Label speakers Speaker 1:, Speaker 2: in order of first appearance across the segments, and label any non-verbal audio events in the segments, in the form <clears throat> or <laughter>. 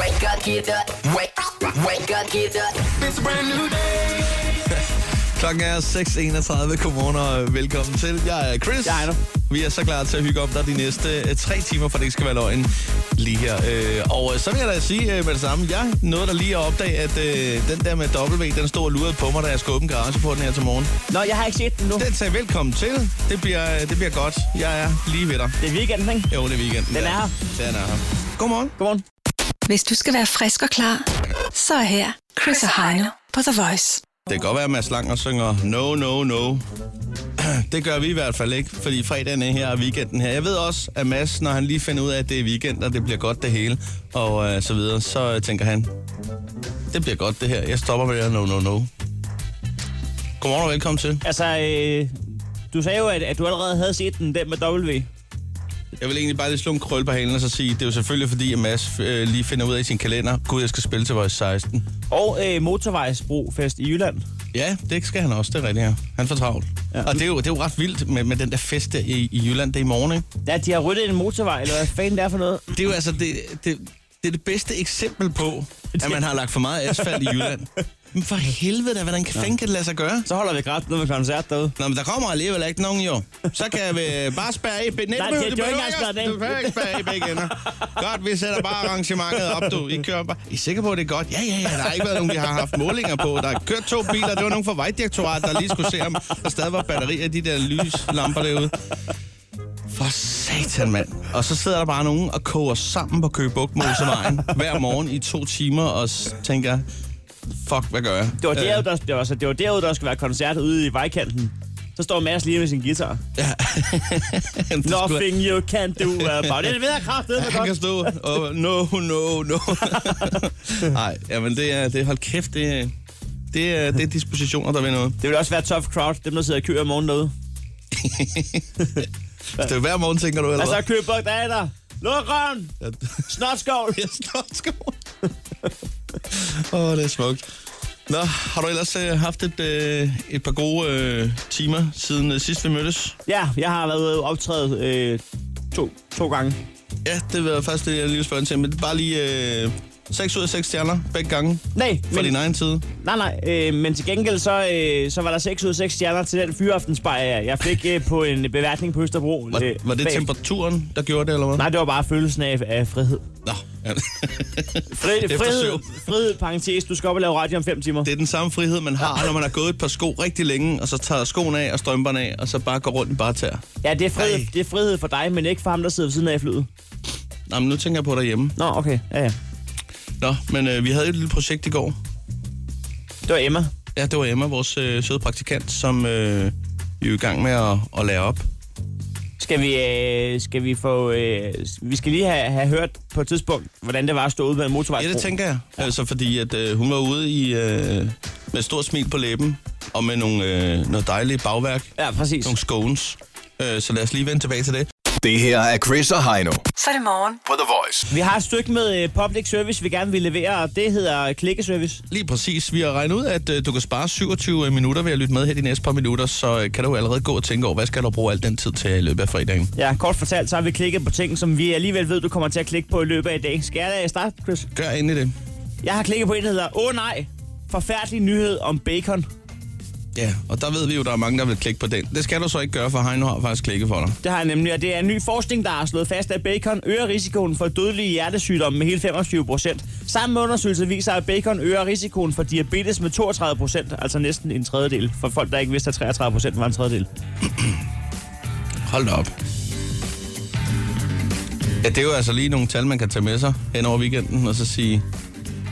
Speaker 1: Wake up, get up. Wake up, wake up, get up. It's a brand new day.
Speaker 2: Klokken er 6.31. Godmorgen og velkommen til. Jeg er Chris.
Speaker 3: Jeg er Ejner.
Speaker 2: Vi er så klar til at hygge om dig de næste øh, tre timer, for det ikke skal være løgn lige her. Øh, og øh, så vil jeg da sige øh, med det samme, jeg nåede da lige at opdage, at øh, den der med W, den stod og lurede på mig, da jeg skulle åbne garage på den her til morgen.
Speaker 3: Nå, jeg har ikke set den nu.
Speaker 2: Den sagde velkommen til. Det bliver, øh, det bliver godt. Jeg er lige ved dig.
Speaker 3: Det er weekenden, ikke?
Speaker 2: Jo, det er weekenden.
Speaker 3: Den
Speaker 2: Ja.
Speaker 3: er her.
Speaker 2: Den er her. Godmorgen.
Speaker 3: Godmorgen.
Speaker 4: Hvis du skal være frisk og klar, så er her Chris og Heino på The Voice.
Speaker 2: Det kan godt være, at Mads Langer synger no, no, no. <clears throat> Det gør vi i hvert fald ikke, fordi fredagen er her og weekenden her. Jeg ved også, at Mads, når han lige finder ud af, at det er weekend, og det bliver godt det hele, og øh, så videre, så øh, tænker han, det bliver godt det her. Jeg stopper med det her no, no, no. Godmorgen og velkommen til.
Speaker 3: Altså, øh, du sagde jo, at, at du allerede havde set den, den med W.
Speaker 2: Jeg vil egentlig bare lige slå en krøl på halen og så sige, det er jo selvfølgelig fordi, at Mads øh, lige finder ud af i sin kalender, gud, jeg skal spille til vores 16.
Speaker 3: Og øh, motorvejsbrofest i Jylland.
Speaker 2: Ja, det skal han også, det er rigtigt her. Han får travlt. Ja.
Speaker 3: Ja.
Speaker 2: Og det er, jo, det er jo ret vildt med, med den der fest der i, i Jylland, det er i morgen, ikke?
Speaker 3: Ja, de har ryddet en motorvej, eller hvad fanden det er for noget.
Speaker 2: Det er jo altså det, det, det, er det bedste eksempel på, at man har lagt for meget asfalt i
Speaker 3: <laughs>
Speaker 2: Jylland. Men for helvede da, hvordan kan fanden kan det lade sig gøre?
Speaker 3: Så holder vi grædt noget med koncert derude.
Speaker 2: Nå, men der kommer alligevel ikke nogen jo. Så kan jeg vel bare spærre i begge
Speaker 3: Nej, det- det er jo ikke engang spærret af.
Speaker 2: Du behøver ikke spærre i begge ender. Godt, vi sætter bare arrangementet op, du. I kører bare. I er sikre på, at det er godt? Ja, ja, ja. Der har ikke været nogen, vi har haft målinger på. Der er kørt to biler. Det var nogen fra Vejdirektoratet, der lige skulle se, om der stadig var batterier i de der lyslamper derude. For satan, mand. Og så sidder der bare nogen og koger sammen på Køge Bugt Mosevejen
Speaker 3: <laughs>
Speaker 2: hver morgen i to timer og s- tænker, fuck, hvad gør jeg?
Speaker 3: Det var,
Speaker 2: Øh,
Speaker 3: derude, der, det var, så det var derude, der skulle være koncert ude i vejkanten. Så står Mads lige med sin <laughs> guitar.
Speaker 2: det skulle-
Speaker 3: Nothing you can do about it. Det ved jeg kraftedet med
Speaker 2: Han kan
Speaker 3: godt.
Speaker 2: stå <laughs> og no,
Speaker 3: <laughs>
Speaker 2: no, no. Nej, jamen det er, det er hold kæft, det er, det er, det er dispositioner, der ved noget.
Speaker 3: Det vil også være tough crowd, dem der sidder og kører om morgenen
Speaker 2: <laughs>
Speaker 3: derude.
Speaker 2: Hvis det er hver morgen, tænker du, eller
Speaker 3: Altså,
Speaker 2: hvad?
Speaker 3: køb bog, der er der. Luk røven! Snotskål!
Speaker 2: Jeg står sko. Åh, oh, det er smukt. Nå, har du ellers øh, haft et, øh, et par gode øh, timer siden øh, sidst vi mødtes?
Speaker 3: Ja, jeg har været ude og optræde øh, to, to gange.
Speaker 2: Ja, det var faktisk det, jeg lige spørge til, men det er bare lige øh, 6 ud af 6 stjerner begge gange
Speaker 3: Nej,
Speaker 2: fra din egen side.
Speaker 3: nej, nej øh, men til gengæld så, øh, så var der 6 ud af 6 stjerner til den fyraftensbajer, jeg- jeg fik øh, på en beværtning på Østerbro. øh,
Speaker 2: Var, var det
Speaker 3: bag-
Speaker 2: temperaturen, der gjorde det, eller hvad?
Speaker 3: Nej, det var bare følelsen af, af frihed.
Speaker 2: Nå, ja.
Speaker 3: Fri,
Speaker 2: Efter
Speaker 3: frihed,
Speaker 2: syv.
Speaker 3: frihed, parentes, du skal op og lave radio om 5 timer.
Speaker 2: Det er den samme frihed, man har, når man har gået et par sko rigtig længe, og så tager skoen af og strømperne af, og så bare går rundt i bare tæer.
Speaker 3: Ja, det er, frihed,
Speaker 2: Ej.
Speaker 3: det er frihed for dig, men ikke for ham, der sidder ved siden af i flyet.
Speaker 2: Nå, men nu tænker jeg på derhjemme.
Speaker 3: Nå, okay. Ja, ja.
Speaker 2: Nå, men øh, vi havde jo et lille projekt i går.
Speaker 3: Det var Emma.
Speaker 2: Ja, det var Emma, vores øh, søde praktikant, som øh, vi er jo i gang med at, at lære op.
Speaker 3: Skal vi, øh, skal vi få... Øh, vi skal lige have, have hørt på et tidspunkt, hvordan det var at stå ude på en motorvej.
Speaker 2: Ja, det tænker jeg. Altså, fordi at, øh, hun var ude i, øh, med et stort smil på læben, og med nogle, øh, noget dejligt bagværk,
Speaker 3: Ja, præcis.
Speaker 2: nogle scones. Øh, så lad os lige vende tilbage til det.
Speaker 5: Det her er Chris og Heino
Speaker 4: Så er det morgen.
Speaker 5: på The Voice.
Speaker 3: Vi har et stykke med øh, public service, vi gerne vil levere, og det hedder klikkeservice.
Speaker 2: Lige præcis. Vi har regnet ud, at øh, du kan spare 27 minutter ved at lytte med her de næste par minutter, så øh, kan du jo allerede gå og tænke over, hvad skal du bruge al den tid til i løbet af fredagen?
Speaker 3: Ja, kort fortalt, så har vi klikket på ting, som vi alligevel ved, du kommer til at klikke på i løbet af i dag. Skal jeg da starte, Chris?
Speaker 2: Gør endelig det.
Speaker 3: Jeg har klikket på en, der hedder, åh oh, nej, forfærdelig nyhed om bacon.
Speaker 2: Ja, og der ved vi jo, der er mange, der vil klikke på den. Det skal du så ikke gøre, for Heino har faktisk klikket for dig.
Speaker 3: Det har jeg nemlig, og det er en ny forskning, der har slået fast, at bacon øger risikoen for dødelige hjertesygdomme med hele 25 procent. Samme undersøgelse viser, at bacon øger risikoen for diabetes med 32 procent, altså næsten en tredjedel, for folk, der ikke vidste, at 33 procent var en tredjedel.
Speaker 2: Hold da op. Ja, det er jo altså lige nogle tal, man kan tage med sig hen over weekenden, og så sige,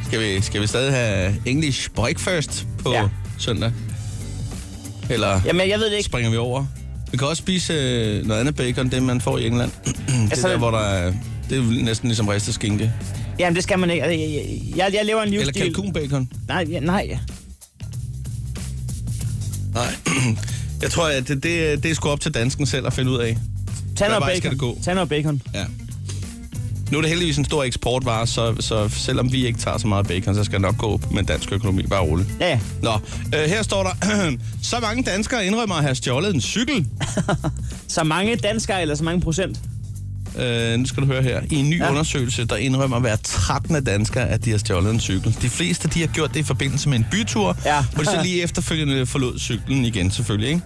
Speaker 2: skal vi, skal vi stadig have English breakfast på ja.
Speaker 3: Ja.
Speaker 2: søndag? Eller
Speaker 3: Jamen, jeg ved det ikke.
Speaker 2: springer vi over. Vi kan også spise øh, noget andet bacon, det man får i England. <clears throat> det er
Speaker 3: Altså,
Speaker 2: der, hvor der er, det er jo næsten ligesom ristet skinke.
Speaker 3: Jamen, det skal man ikke. Altså, Jeg, jeg, jeg, jeg lever en
Speaker 2: Eller
Speaker 3: livsstil...
Speaker 2: kalkunbacon.
Speaker 3: Nej, ja, nej.
Speaker 2: Nej. <clears throat> Jeg tror, at det, det, det er sgu op til dansken selv at finde ud af.
Speaker 3: Tag
Speaker 2: Hvad
Speaker 3: noget
Speaker 2: vej
Speaker 3: bacon.
Speaker 2: skal det gå?
Speaker 3: Tag noget bacon.
Speaker 2: Ja. Nu er det heldigvis en stor eksportvare, så, så selvom vi ikke tager så meget bacon, så skal det nok gå med dansk økonomi. Bare roligt.
Speaker 3: Ja, ja.
Speaker 2: Nå, øh, her står der, <clears throat> så mange
Speaker 3: <laughs>
Speaker 2: danskere indrømmer at have stjålet en cykel.
Speaker 3: Så mange danskere, eller så mange procent.
Speaker 2: Øh, nu skal du høre her. I en ny ja. undersøgelse, der indrømmer hver 13. dansker, at de har stjålet en cykel. De fleste, de har gjort det i forbindelse med en bytur,
Speaker 3: Ja.
Speaker 2: hvor de så lige efterfølgende forlod cyklen igen selvfølgelig, ikke?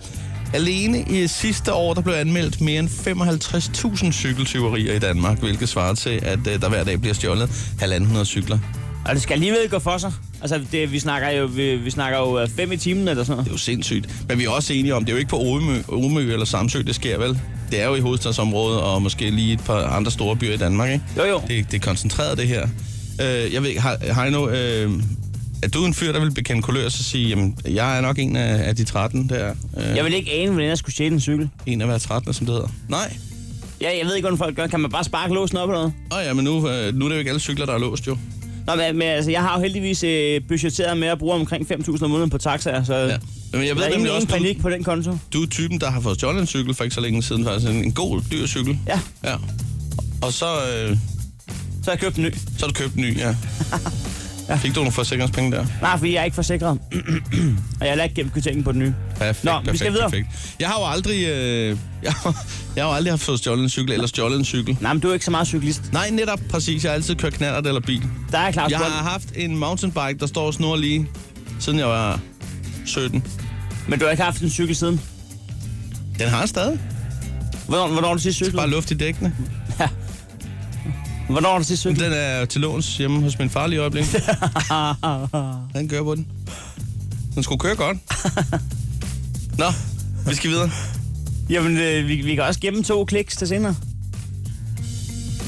Speaker 2: Alene i sidste år, der blev anmeldt mere end 55.000 cykeltyverier i Danmark, hvilket svarer til, at øh, der hver dag bliver stjålet 1.500 cykler. Det
Speaker 3: Og det skal alligevel gå for sig. Altså, det, vi snakker jo, vi, vi snakker jo øh, fem i timen eller sådan noget.
Speaker 2: er jo sindssygt. Men vi er også enige om, det er jo ikke på Omø, Omø eller Samsø, det sker vel? Det er jo i hovedstadsområdet og måske lige et par andre store byer i Danmark, ikke?
Speaker 3: Jo, jo.
Speaker 2: Det, det er koncentreret, det her. Øh, jeg ved ikke, Hej- Heino, øh, er du en fyr, der vil bekende kulør og så sige, jamen, jeg er nok en af, af de 13 der? Øh,
Speaker 3: Jeg vil ikke ane, hvordan jeg skulle stjæle en cykel.
Speaker 2: En af hver 13, som det hedder. Nej.
Speaker 3: Ja, jeg ved ikke, hvordan folk gør. Kan man bare sparke låsen op eller noget?
Speaker 2: Åh oh, ja, men nu, øh, nu er det jo ikke alle cykler, der er låst jo.
Speaker 3: Nå, men, men altså, jeg har jo heldigvis øh, budgetteret med at bruge omkring 5.000 om måneden på taxaer, så ja.
Speaker 2: Ja. Men jeg
Speaker 3: jeg ved
Speaker 2: ved
Speaker 3: der er
Speaker 2: nemlig
Speaker 3: ingen,
Speaker 2: også,
Speaker 3: ingen
Speaker 2: du,
Speaker 3: panik på den konto.
Speaker 2: du er typen, der har fået stjålet en cykel for ikke så længe siden. Faktisk en, en god, dyr cykel.
Speaker 3: Ja.
Speaker 2: ja. Og så, øh,
Speaker 3: Så har jeg købt en ny.
Speaker 2: så har du købt en
Speaker 3: <laughs>
Speaker 2: ny, ja. ja. Fik du nogle forsikringspenge der?
Speaker 3: Nej, fordi jeg er ikke forsikret. <clears throat> og jeg har ikke gemt kvitteringen på den nye.
Speaker 2: Perfekt,
Speaker 3: Nå,
Speaker 2: perfekt,
Speaker 3: vi skal videre.
Speaker 2: Perfekt. Jeg har jo aldrig, øh, <laughs> jeg, har- jeg har jo aldrig haft fået stjålet en cykel, eller stjålet en cykel.
Speaker 3: Nej, men du er ikke så meget cyklist.
Speaker 2: Nej, netop præcis. Jeg har altid kørt knallert eller bil.
Speaker 3: Der er Claus
Speaker 2: Jeg
Speaker 3: Bund.
Speaker 2: har haft en mountainbike, der står og snor lige, siden jeg var 17.
Speaker 3: Men du har ikke haft en cykel siden.
Speaker 2: Den har jeg stadig.
Speaker 3: Hvornår, hvornår har du sidst cyklet?
Speaker 2: Bare luft i dækkene.
Speaker 3: Hvornår har du sidst cyklet?
Speaker 2: Den er til låns hjemme hos min far lige i
Speaker 3: <laughs>
Speaker 2: øjeblikket. Han kører på den. Den skulle køre godt. Nå, vi skal videre.
Speaker 3: Jamen, øh, vi, vi kan også gemme to kliks til senere.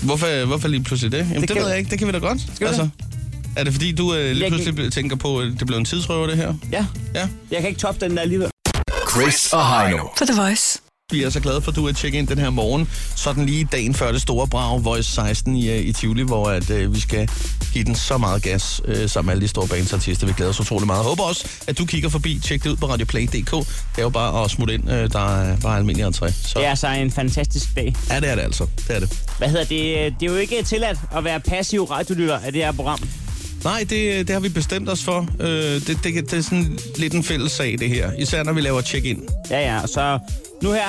Speaker 2: Hvorfor, hvorfor lige pludselig det? Jamen, det, det
Speaker 3: kan-
Speaker 2: ved jeg ikke. Det kan vi da godt. Altså. Skal
Speaker 3: vi
Speaker 2: Er det fordi, du øh, lige
Speaker 3: Jeg-
Speaker 2: pludselig ble- tænker på, at det blev en tidsrøver, det her?
Speaker 3: Ja.
Speaker 2: Ja.
Speaker 3: Jeg kan ikke toppe den der alligevel.
Speaker 5: Chris og Heino.
Speaker 4: På The Voice.
Speaker 2: Vi er så glade for, at du er tjekket ind den her morgen. Sådan lige dagen før det store brag, Voice 16 i, øh, i Tivoli, hvor at, øh, vi skal give den så meget gas øh, sammen med alle de store bandsartister. Vi glæder os utrolig meget. Håber også, at du kigger forbi. Tjek det ud på radioplay.dk. Det er jo bare at smutte ind. Øh, der er bare almindelig entré. Så
Speaker 3: Det
Speaker 2: ja.
Speaker 3: er så en fantastisk dag.
Speaker 2: ja, det er det altså. Det er det.
Speaker 3: Hvad hedder det? Det er jo ikke tilladt at være passiv radiolytter af det her program.
Speaker 2: Nej, det, det har vi bestemt os for. Øh, det, det, det er sådan lidt en fælles sag, det her. Især når vi laver check-in.
Speaker 3: Ja, ja. Så Altså, nu her,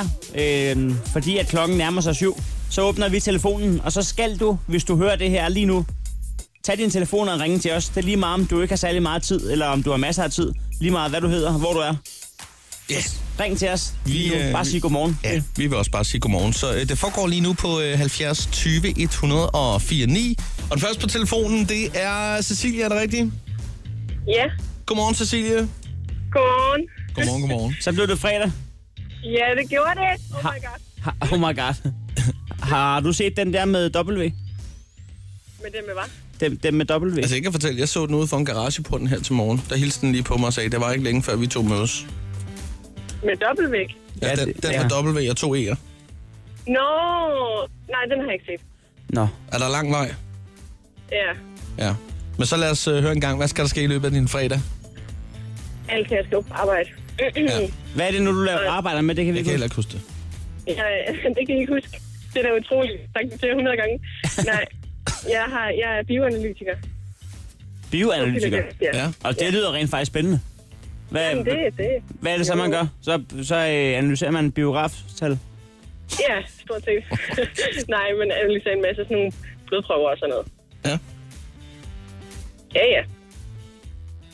Speaker 3: øh, fordi at klokken nærmer sig syv, så åbner vi telefonen, og så skal du, hvis du hører det her lige nu, tag din telefon og ringe til os. Det er lige meget, om du ikke har særlig meget tid, eller om du har masser af tid. Lige meget, hvad du hedder, hvor du er.
Speaker 2: Yes.
Speaker 3: Ring til os.
Speaker 2: Vi,
Speaker 3: Vi,
Speaker 2: øh,
Speaker 3: nu. Bare
Speaker 2: vi-
Speaker 3: sig godmorgen.
Speaker 2: Ja, vi vil også bare sige godmorgen. Så øh, det foregår lige nu på øh, 70 20 104 9. Og den første på telefonen, det er Cecilia, er det rigtigt?
Speaker 6: Ja,
Speaker 2: Godmorgen, Cecilie.
Speaker 6: godmorgen.
Speaker 2: Godmorgen, godmorgen.
Speaker 3: Så blev det fredag.
Speaker 6: Ja, det gjorde det. Oh my god.
Speaker 3: Ha- oh my god. Har du set den der med W?
Speaker 6: Men det med hvad?
Speaker 3: Den, den med W?
Speaker 2: Altså, jeg kan fortælle, jeg så den ude for en garage på den her til morgen. Der hilste den lige på mig og sagde, det var ikke længe før vi to mødes.
Speaker 6: Med dobbeltvæg?
Speaker 2: Ja,
Speaker 3: Ja,
Speaker 2: den,
Speaker 3: det-
Speaker 2: den
Speaker 3: ja.
Speaker 2: var dobbelt ved og to E'er.
Speaker 6: Nå, nej, den har jeg ikke set.
Speaker 3: Nå.
Speaker 2: Er der lang vej?
Speaker 6: Ja,
Speaker 2: Ja. Men så lad os øh, høre en gang, hvad skal der ske i løbet af din fredag?
Speaker 6: alt kan jeg skal på arbejde. <clears throat>
Speaker 2: Ja.
Speaker 6: ja.
Speaker 3: Hvad er det nu, du laver arbejder med? Det kan vi
Speaker 2: Jeg
Speaker 3: ikke
Speaker 2: kan heller
Speaker 3: huske.
Speaker 2: ikke huske det.
Speaker 6: det kan jeg ikke huske. Det er da utroligt. Tak til jer 100 gange. nej, jeg, har, jeg er bioanalytiker.
Speaker 3: Bioanalytiker.
Speaker 6: Ja.
Speaker 2: Ja.
Speaker 3: Og det lyder rent faktisk spændende. Hvad,
Speaker 6: Jamen, det, det.
Speaker 3: hvad er det så, man gør? Så, så øh, analyserer man biograftal.
Speaker 6: Ja, stort set. <laughs> nej, men analyserer en masse sådan nogle blodprøver og sådan noget.
Speaker 2: Ja.
Speaker 6: Ja, ja.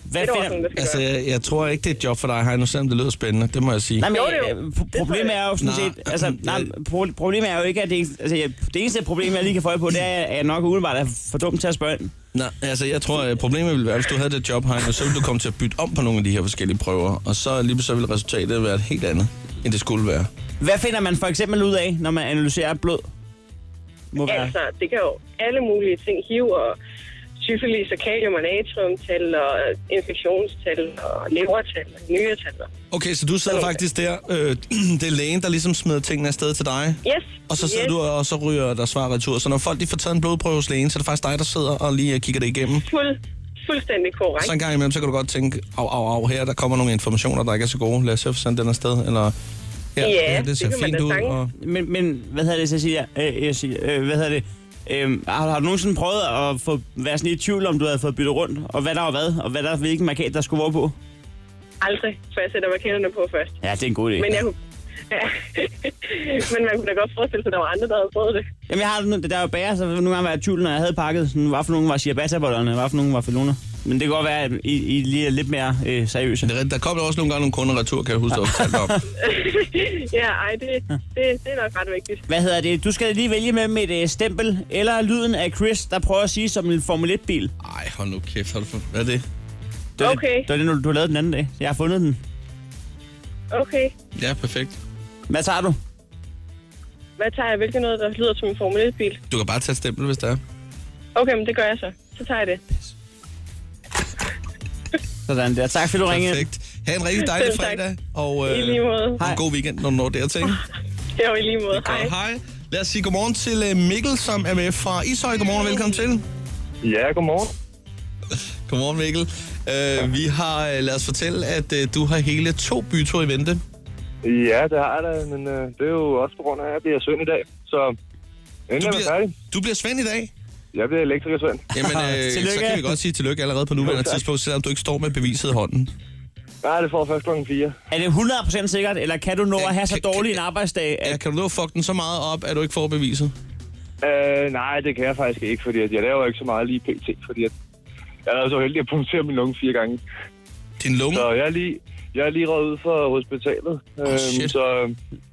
Speaker 3: Hvad
Speaker 6: Det er også
Speaker 3: finder...
Speaker 6: nogen, der skal
Speaker 2: Altså,
Speaker 6: gøre.
Speaker 2: jeg, jeg tror ikke, det er et job for dig, Heino, selvom det lyder spændende. Det må jeg sige.
Speaker 3: Nej, men,
Speaker 6: Jo, det er jo-
Speaker 3: øh,
Speaker 6: det
Speaker 3: pro-
Speaker 6: tror
Speaker 3: problemet
Speaker 6: jeg.
Speaker 3: er jo sådan
Speaker 2: Nej.
Speaker 3: set... Altså, nej,
Speaker 2: Jeg-
Speaker 3: pro- problemet er jo ikke, at det... ikke- Altså, jeg- det eneste problem, jeg lige kan få øje på, det er, at jeg nok umiddelbart er for dum til at spørge ind.
Speaker 2: Nej, altså jeg tror, at problemet ville være, hvis du havde det job, Heino, så ville du komme til at bytte om på nogle af de her forskellige prøver, og så lige så ville resultatet være et helt andet, end det skulle være.
Speaker 3: Hvad finder man for eksempel ud af, når man analyserer blod? Må være.
Speaker 6: Altså, det kan jo alle mulige ting. HIV og syfilis og kalium og natriumtal og infektionstal og levertal og nyretal.
Speaker 2: Okay, så du sidder
Speaker 6: Okay.
Speaker 2: faktisk der, øh, <clears throat> det er lægen, der ligesom smider tingene afsted til dig,
Speaker 6: Yes.
Speaker 2: og så sidder
Speaker 6: yes.
Speaker 2: du og så ryger der svar retur. Så når folk lige får taget en blodprøve hos lægen, så er det faktisk dig, der sidder og lige øh, kigger det igennem.
Speaker 6: Fuld, fuldstændig korrekt.
Speaker 2: Så en gang imellem, så kan du godt tænke, au, au, au, her der kommer nogle informationer, der ikke er så gode. Lad os se, at sende den afsted, eller her,
Speaker 6: Ja,
Speaker 2: her,
Speaker 6: det
Speaker 2: det ser
Speaker 6: kan man
Speaker 2: fint
Speaker 6: da
Speaker 2: ud.
Speaker 6: sagtens.
Speaker 2: Og...
Speaker 3: Men, men hvad hedder det, Cecilia? Øh, jeg siger, øh, hvad hedder det? Øh, har, har du nogensinde prøvet at få, være sådan i tvivl, om du havde fået byttet rundt? Og hvad der var hvad? Og hvad der, hvilken markat, der skulle være på?
Speaker 6: Aldrig, for jeg sætter markerne på først.
Speaker 3: Ja, det er en god idé.
Speaker 6: <laughs> Men jeg kunne... Ja. Men man kunne da godt forestille sig, at der var andre, der havde prøvet det. <laughs>
Speaker 3: Jamen, jeg har, det- der er jo bager, så nogle gange var jeg i tvivl, når jeg havde pakket, sådan, hvad for nogen var ciabatta-bollerne, hvad for nogen var feloner. Men det kan godt være, at I, I lige er lidt mere øh, seriøse.
Speaker 2: Det er rigtigt. Der kom også nogle gange nogle kunder retur, kan jeg huske, du har fortalt om.
Speaker 6: ja, ej, det, det, det er nok ret vigtigt.
Speaker 3: <laughs> Hvad hedder det? Du skal lige vælge mellem et øh, stempel eller lyden af Chris, der prøver at sige som en Formel 1-bil.
Speaker 2: Ej, hold nu kæft. Hold for... Hvad er det?
Speaker 3: Det var
Speaker 6: Okay.
Speaker 3: Det, det var det, du- du lavede den anden dag. Jeg har fundet den.
Speaker 6: Okay,
Speaker 2: Ja, perfekt.
Speaker 3: Hvad tager du?
Speaker 6: hvad tager jeg? Hvilken noget, der lyder som en Formel 1-bil?
Speaker 2: Du kan bare tage et stempel, hvis der er.
Speaker 6: Okay, men det gør jeg så. Så tager jeg det.
Speaker 3: Sådan der. Tak, fordi du ringede. ind.
Speaker 2: Perfekt. Ha' en rigtig dejlig
Speaker 6: Selv tak.
Speaker 2: fredag, og øh,
Speaker 6: I lige måde.
Speaker 2: og en god weekend, når du når
Speaker 6: <laughs>
Speaker 2: dertil.
Speaker 6: Det var i lige måde. Hej.
Speaker 2: Godt, hej. Lad os sige godmorgen til øh, Mikkel, som er med fra Ishøj. Godmorgen og velkommen til.
Speaker 7: Ja, godmorgen.
Speaker 2: <laughs> Godmorgen, Mikkel. Øh, vi har, øh, lad os fortælle, at øh, du har hele to byture i vente.
Speaker 7: Ja, det har jeg da, men øh, det er jo også på grund af, at jeg bliver søn i dag. Så endelig
Speaker 2: Du
Speaker 7: er jeg færdig.
Speaker 2: bliver, du bliver Svend i dag.
Speaker 7: Jeg bliver elektriker søn.
Speaker 3: <laughs>
Speaker 2: <laughs> Jamen, øh, så
Speaker 3: Tillykke.
Speaker 2: kan vi godt sige tillykke allerede på nuværende
Speaker 7: tak.
Speaker 2: tidspunkt, selvom du ikke står med beviset i hånden.
Speaker 7: Nej, det får jeg først klokken 4.
Speaker 3: Er det 100% sikkert, eller kan du nå
Speaker 2: Ja,
Speaker 3: at have så
Speaker 2: kan-
Speaker 3: dårlig en
Speaker 2: kan-
Speaker 3: arbejdsdag,
Speaker 2: Ja,
Speaker 3: at
Speaker 2: kan du nå at fuck den så meget op, at du ikke får beviset?
Speaker 7: Øh, nej, det kan jeg faktisk ikke, fordi at jeg laver ikke så meget lige pt, fordi at jeg er så heldig at punktere min lunge fire gange.
Speaker 2: Din lunge?
Speaker 7: Så jeg er lige, jeg er lige røget ud fra hospitalet. Oh,
Speaker 2: shit.
Speaker 7: så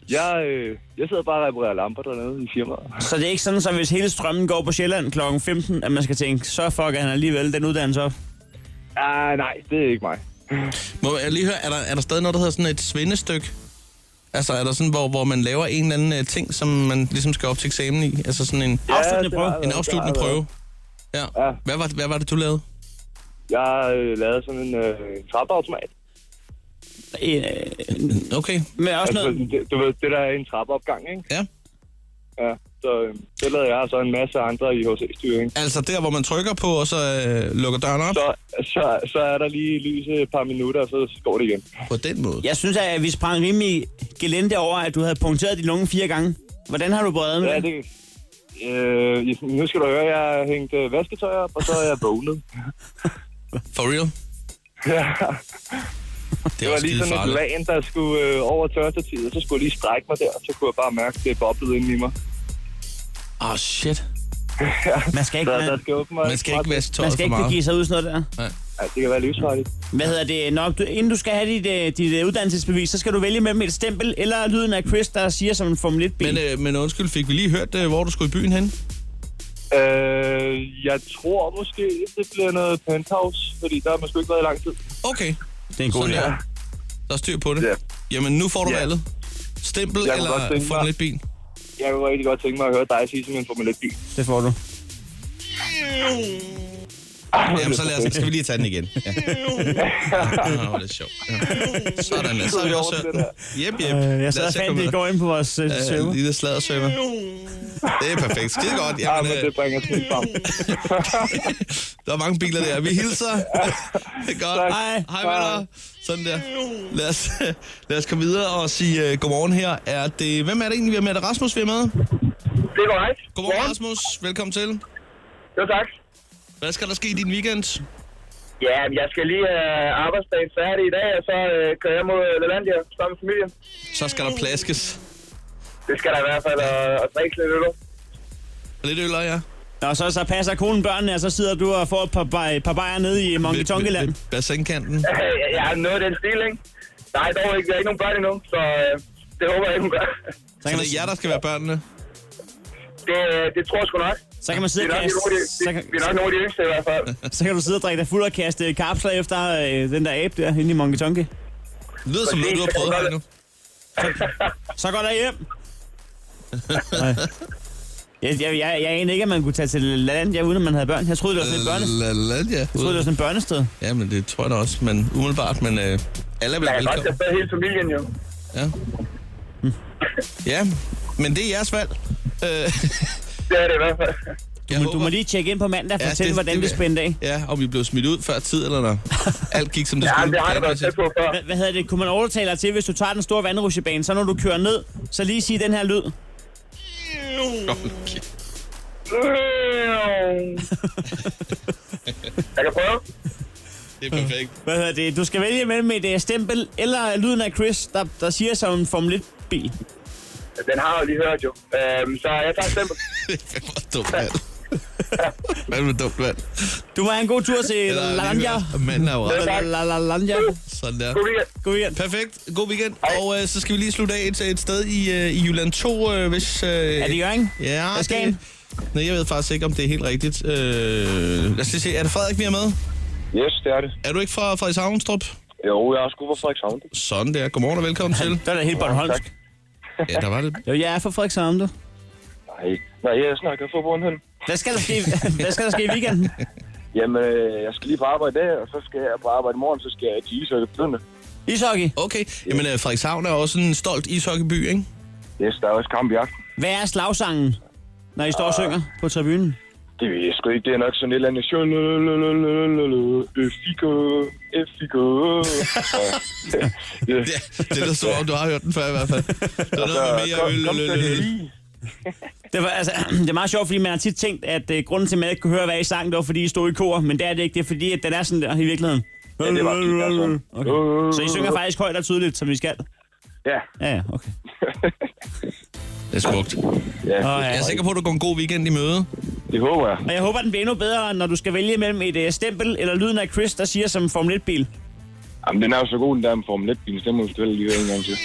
Speaker 7: jeg, øh, jeg sidder bare og reparerer lamper dernede i firmaet.
Speaker 3: Så det er ikke sådan, som hvis hele strømmen går på Sjælland kl. 15, at man skal tænke, så fucker han alligevel den uddannelse op.
Speaker 7: Ah, nej, det er ikke mig.
Speaker 2: Må jeg lige høre, er der, er der stadig noget, der hedder sådan et svindestykke? Altså, er der sådan, hvor, hvor man laver en eller anden øh, ting, som man ligesom skal op til eksamen i? Altså sådan en,
Speaker 3: Afsluttende
Speaker 7: det
Speaker 3: prøve.
Speaker 7: har jeg
Speaker 2: en
Speaker 7: været.
Speaker 2: afsluttende
Speaker 7: Det har jeg
Speaker 2: prøve? Ja.
Speaker 7: Ja.
Speaker 2: Hvad var, hvad var det, du lavede?
Speaker 7: Jeg har øh, lavet sådan en øh, trappeautomat.
Speaker 3: Øh,
Speaker 2: Okay,
Speaker 3: Men også
Speaker 7: Altså,
Speaker 3: noget...
Speaker 7: det, du ved, det der er en trappeopgang, ikke?
Speaker 2: ja.
Speaker 7: Ja, så øh, det lavede jeg og så en masse andre i HC-styring.
Speaker 2: Altså der, hvor man trykker på, og så øh, lukker døren op?
Speaker 7: Så, så, så er der lige lys et par minutter, og så går det igen.
Speaker 2: På den måde. <laughs>
Speaker 3: Jeg synes, at vi sprang rimelig gelente over, at du havde punkteret din lunge fire gange. Hvordan har du båret med
Speaker 7: Ja,
Speaker 3: det?
Speaker 7: det, øh, nu skal du høre, jeg har hængt øh, vasketøj op, og så er jeg vågnet.
Speaker 2: <laughs> For real?
Speaker 7: Ja,
Speaker 2: Det
Speaker 7: det
Speaker 2: er
Speaker 7: var
Speaker 2: også skide
Speaker 7: lige sådan et
Speaker 2: farligt.
Speaker 7: lagen, der skulle øh, over tørstativet, så skulle jeg lige strække mig der, og så kunne jeg bare mærke, at det boblede inde i mig.
Speaker 2: Åh, oh, shit.
Speaker 3: Man skal ikke,
Speaker 7: Så der
Speaker 3: man,
Speaker 7: skal åbenbart...
Speaker 2: Man skal ikke vaske
Speaker 3: man
Speaker 2: tøjet
Speaker 3: skal
Speaker 2: for
Speaker 3: ikke
Speaker 2: meget.
Speaker 3: begive sig ud i sådan noget der.
Speaker 7: Ja, det kan være livsfarligt.
Speaker 3: Hvad hedder det? Nå, du, inden du skal have dit, øh, dit øh, uddannelsesbevis, så skal du vælge mellem et stempel eller lyden af Chris, der siger som en Formel 1
Speaker 2: Men,
Speaker 3: bil.
Speaker 2: øh, men undskyld, fik vi lige hørt, øh, hvor du skulle i byen hen?
Speaker 7: Øh, jeg tror måske, det bliver noget penthouse, fordi der har måske ikke været i lang tid.
Speaker 2: Okay,
Speaker 3: Det er en god
Speaker 2: sådan
Speaker 3: idé.
Speaker 2: her. Der er styr på det.
Speaker 7: Ja.
Speaker 2: Jamen, nu får du
Speaker 7: Ja.
Speaker 2: valget. Stempel
Speaker 7: Jeg kunne godt
Speaker 2: eller
Speaker 7: tænke
Speaker 2: få
Speaker 7: mig-
Speaker 2: lidt bil?
Speaker 7: Jeg kunne rigtig godt tænke mig at høre dig sige som en Formel 1-bil.
Speaker 3: Det får du.
Speaker 2: Jamen, så lad os, skal vi lige tage den igen.
Speaker 7: <laughs>
Speaker 2: Ja. Åh, det er sjovt. Ja. Sådan, der. så har vi også hørt den. Jep, jep.
Speaker 3: Øh, jeg sad og fandt det i går inde på vores øh, server.
Speaker 2: Øh, lille sladderserver. Det er perfekt. Skide godt.
Speaker 7: Ja,
Speaker 2: Jamen,
Speaker 7: men
Speaker 2: øh,
Speaker 7: det bringer os lidt frem.
Speaker 2: <laughs> der er mange biler der. Vi
Speaker 7: <laughs>
Speaker 2: hilser. Det er godt.
Speaker 7: Tak.
Speaker 2: Hej. Hej med dig. Sådan der. Lad os, <laughs> lad os komme videre og sige uh, godmorgen her. Er det, hvem er det egentlig, vi har med? Er det Rasmus, vi er med?
Speaker 7: Det er korrekt.
Speaker 2: Godmorgen, Rasmus. Velkommen til.
Speaker 7: Jo, tak.
Speaker 2: Hvad skal der ske i din weekend?
Speaker 7: Ja, jeg skal lige øh, have arbejdsdagen færdig i dag, og så øh, kører jeg mod Lalandia sammen med familien. <laughs>
Speaker 2: Så skal der plaskes.
Speaker 7: Det skal der i hvert fald, og, og drikke lidt øl.
Speaker 2: Og lidt øl, og ja.
Speaker 3: Nå, så, så passer konen børnene, og så sidder du og får et par, baj- par bajer nede i Monkey Tonkeland.
Speaker 2: Ved- ved- ved Bassinkanten.
Speaker 7: Jeg har noget af den stil, ikke? Der er dog ikke, der er ikke nogen børn endnu, så øh, det håber jeg ikke, hun gør.
Speaker 3: Så
Speaker 2: Så
Speaker 3: kan man,
Speaker 7: <laughs>
Speaker 2: det er jer, der skal være børnene.
Speaker 7: Det, øh, det tror jeg sgu nok.
Speaker 3: så kan man sidde
Speaker 7: Vi
Speaker 3: og
Speaker 7: er nok
Speaker 3: kaste,
Speaker 7: nogle af de-
Speaker 3: så, kan,
Speaker 7: vi er nok nogle af de yngste i hvert fald.
Speaker 3: <laughs> så kan du sidde og drikke dig fuld og kaste kapsler efter øh, den der abe der inde i Monkey Tonke.
Speaker 2: Det lyder som noget, du har prøvet her nu.
Speaker 3: Så går der
Speaker 2: <laughs>
Speaker 3: hjem. Nej. Jeg, jeg, jeg, jeg anede ikke, at man kunne tage til Lalandia, uden at man havde børn. Jeg troede, det var sådan et, børne, jeg
Speaker 2: Øh, Lalandia.
Speaker 3: troede, det var sådan et børnested.
Speaker 2: Ja, men det tror jeg da også, men umiddelbart, men øh, alle er vel
Speaker 7: Jeg kan godt
Speaker 2: velkommen.
Speaker 7: tage fat i hele familien, jo.
Speaker 2: Ja. ja, men det er jeres valg. Øh,
Speaker 7: Det er det i hvert fald.
Speaker 2: jeg
Speaker 3: Men du
Speaker 2: håber-
Speaker 3: må lige tjekke ind på mandag og
Speaker 2: Ja,
Speaker 3: fortælle, hvordan det, spændte af.
Speaker 2: Ja, om vi blev smidt ud før tid, eller når alt gik, som det
Speaker 7: <laughs> Ja,
Speaker 2: skulle.
Speaker 7: men det har jeg da været tæt på før.
Speaker 3: Hvad, hvad hedder det? Kunne man overtale dig til, hvis du tager den store vandrutsjebane, så når du kører ned, så lige sige den her lyd.
Speaker 2: Okay.
Speaker 6: Øhm.
Speaker 7: Jeg kan prøve.
Speaker 2: Det er perfekt.
Speaker 3: Mm. Hvad hedder det? Du skal vælge mellem et øh, stempel eller lyden af Chris, der, der siger som en Formel 1-bil. <laughs>
Speaker 7: Den har jeg jo lige hørt, jo. Øhm, så jeg tager et stempel.
Speaker 2: Det var dumt
Speaker 7: <laughs>
Speaker 2: valg. Hvad med dumt valg?
Speaker 3: Du må have en god tur til
Speaker 2: Eller
Speaker 3: Lalanja.
Speaker 2: alligevel, Manden er jo ret.
Speaker 3: Lalanja.
Speaker 2: Sådan der.
Speaker 7: God weekend.
Speaker 3: God weekend.
Speaker 2: Perfekt. God weekend. Og øh, så skal vi lige slutte af et, et sted i, øh, i Jylland 2, øh, hvis... Øh,
Speaker 3: Er det Jørgen?
Speaker 2: Ja,
Speaker 3: Er Skagen?
Speaker 2: det- Nej, jeg ved faktisk ikke, om det er helt rigtigt. Øh, lad os lige se. Er det Frederik, vi er med?
Speaker 7: Yes, det er det.
Speaker 2: Er du ikke fra Frederikshavnstrup?
Speaker 7: Jo, jeg er sgu fra Frederikshavn.
Speaker 2: Sådan der. Godmorgen og velkommen til.
Speaker 3: Det er da helt Bornholmsk.
Speaker 2: Ja, der var det.
Speaker 3: Jo, jeg er fra Frederikshavn, du.
Speaker 7: Nej, nej, jeg snakker for Bornholm.
Speaker 3: Hvad skal der ske,
Speaker 2: <laughs>
Speaker 3: hvad skal der ske i weekenden?
Speaker 7: Jamen, øh, jeg skal lige på arbejde i dag, og så skal jeg på arbejde i morgen, så skal jeg til Ishøj på
Speaker 3: Ishockey.
Speaker 2: Okay. Jamen, øh, Frederikshavn er også en stolt ishockeyby, ikke?
Speaker 7: Yes, der er også kamp i aften.
Speaker 3: Hvad er slagsangen, når I står og synger på tribunen?
Speaker 7: Det ved jeg sgu ikke, det er nok sådan et eller andet sjov. FIK, FIK.
Speaker 2: Ja, det er da så om, du har hørt den før i hvert fald. Så er noget
Speaker 7: Altså,
Speaker 2: med mere øl, øl, øl, øl.
Speaker 3: Det, var, altså, <clears throat> det er meget sjovt, fordi man har tit tænkt, at uh, grunden til, at man ikke kunne høre, hvad I sang, det var, fordi I stod i kor. Men det er det ikke. Det er fordi, at den er sådan der i virkeligheden.
Speaker 7: Ja, det var fint, altså.
Speaker 3: Okay. Så I synger faktisk højt og tydeligt, som I skal?
Speaker 7: Ja,
Speaker 3: Ja, ja, okay.
Speaker 2: Det er smukt.
Speaker 7: ja.
Speaker 3: Og,
Speaker 2: Jeg
Speaker 3: ja.
Speaker 2: er sikker på, at du går en god weekend i møde.
Speaker 7: det håber jeg.
Speaker 3: og jeg håber, den bliver endnu bedre, når du skal vælge mellem et uh, stempel eller lyden af Chris, der siger som Formel 1-bil.
Speaker 7: Jamen, den er jo så god, den der med Formel 1-bilen. Den må vi stille lige høre en gang til.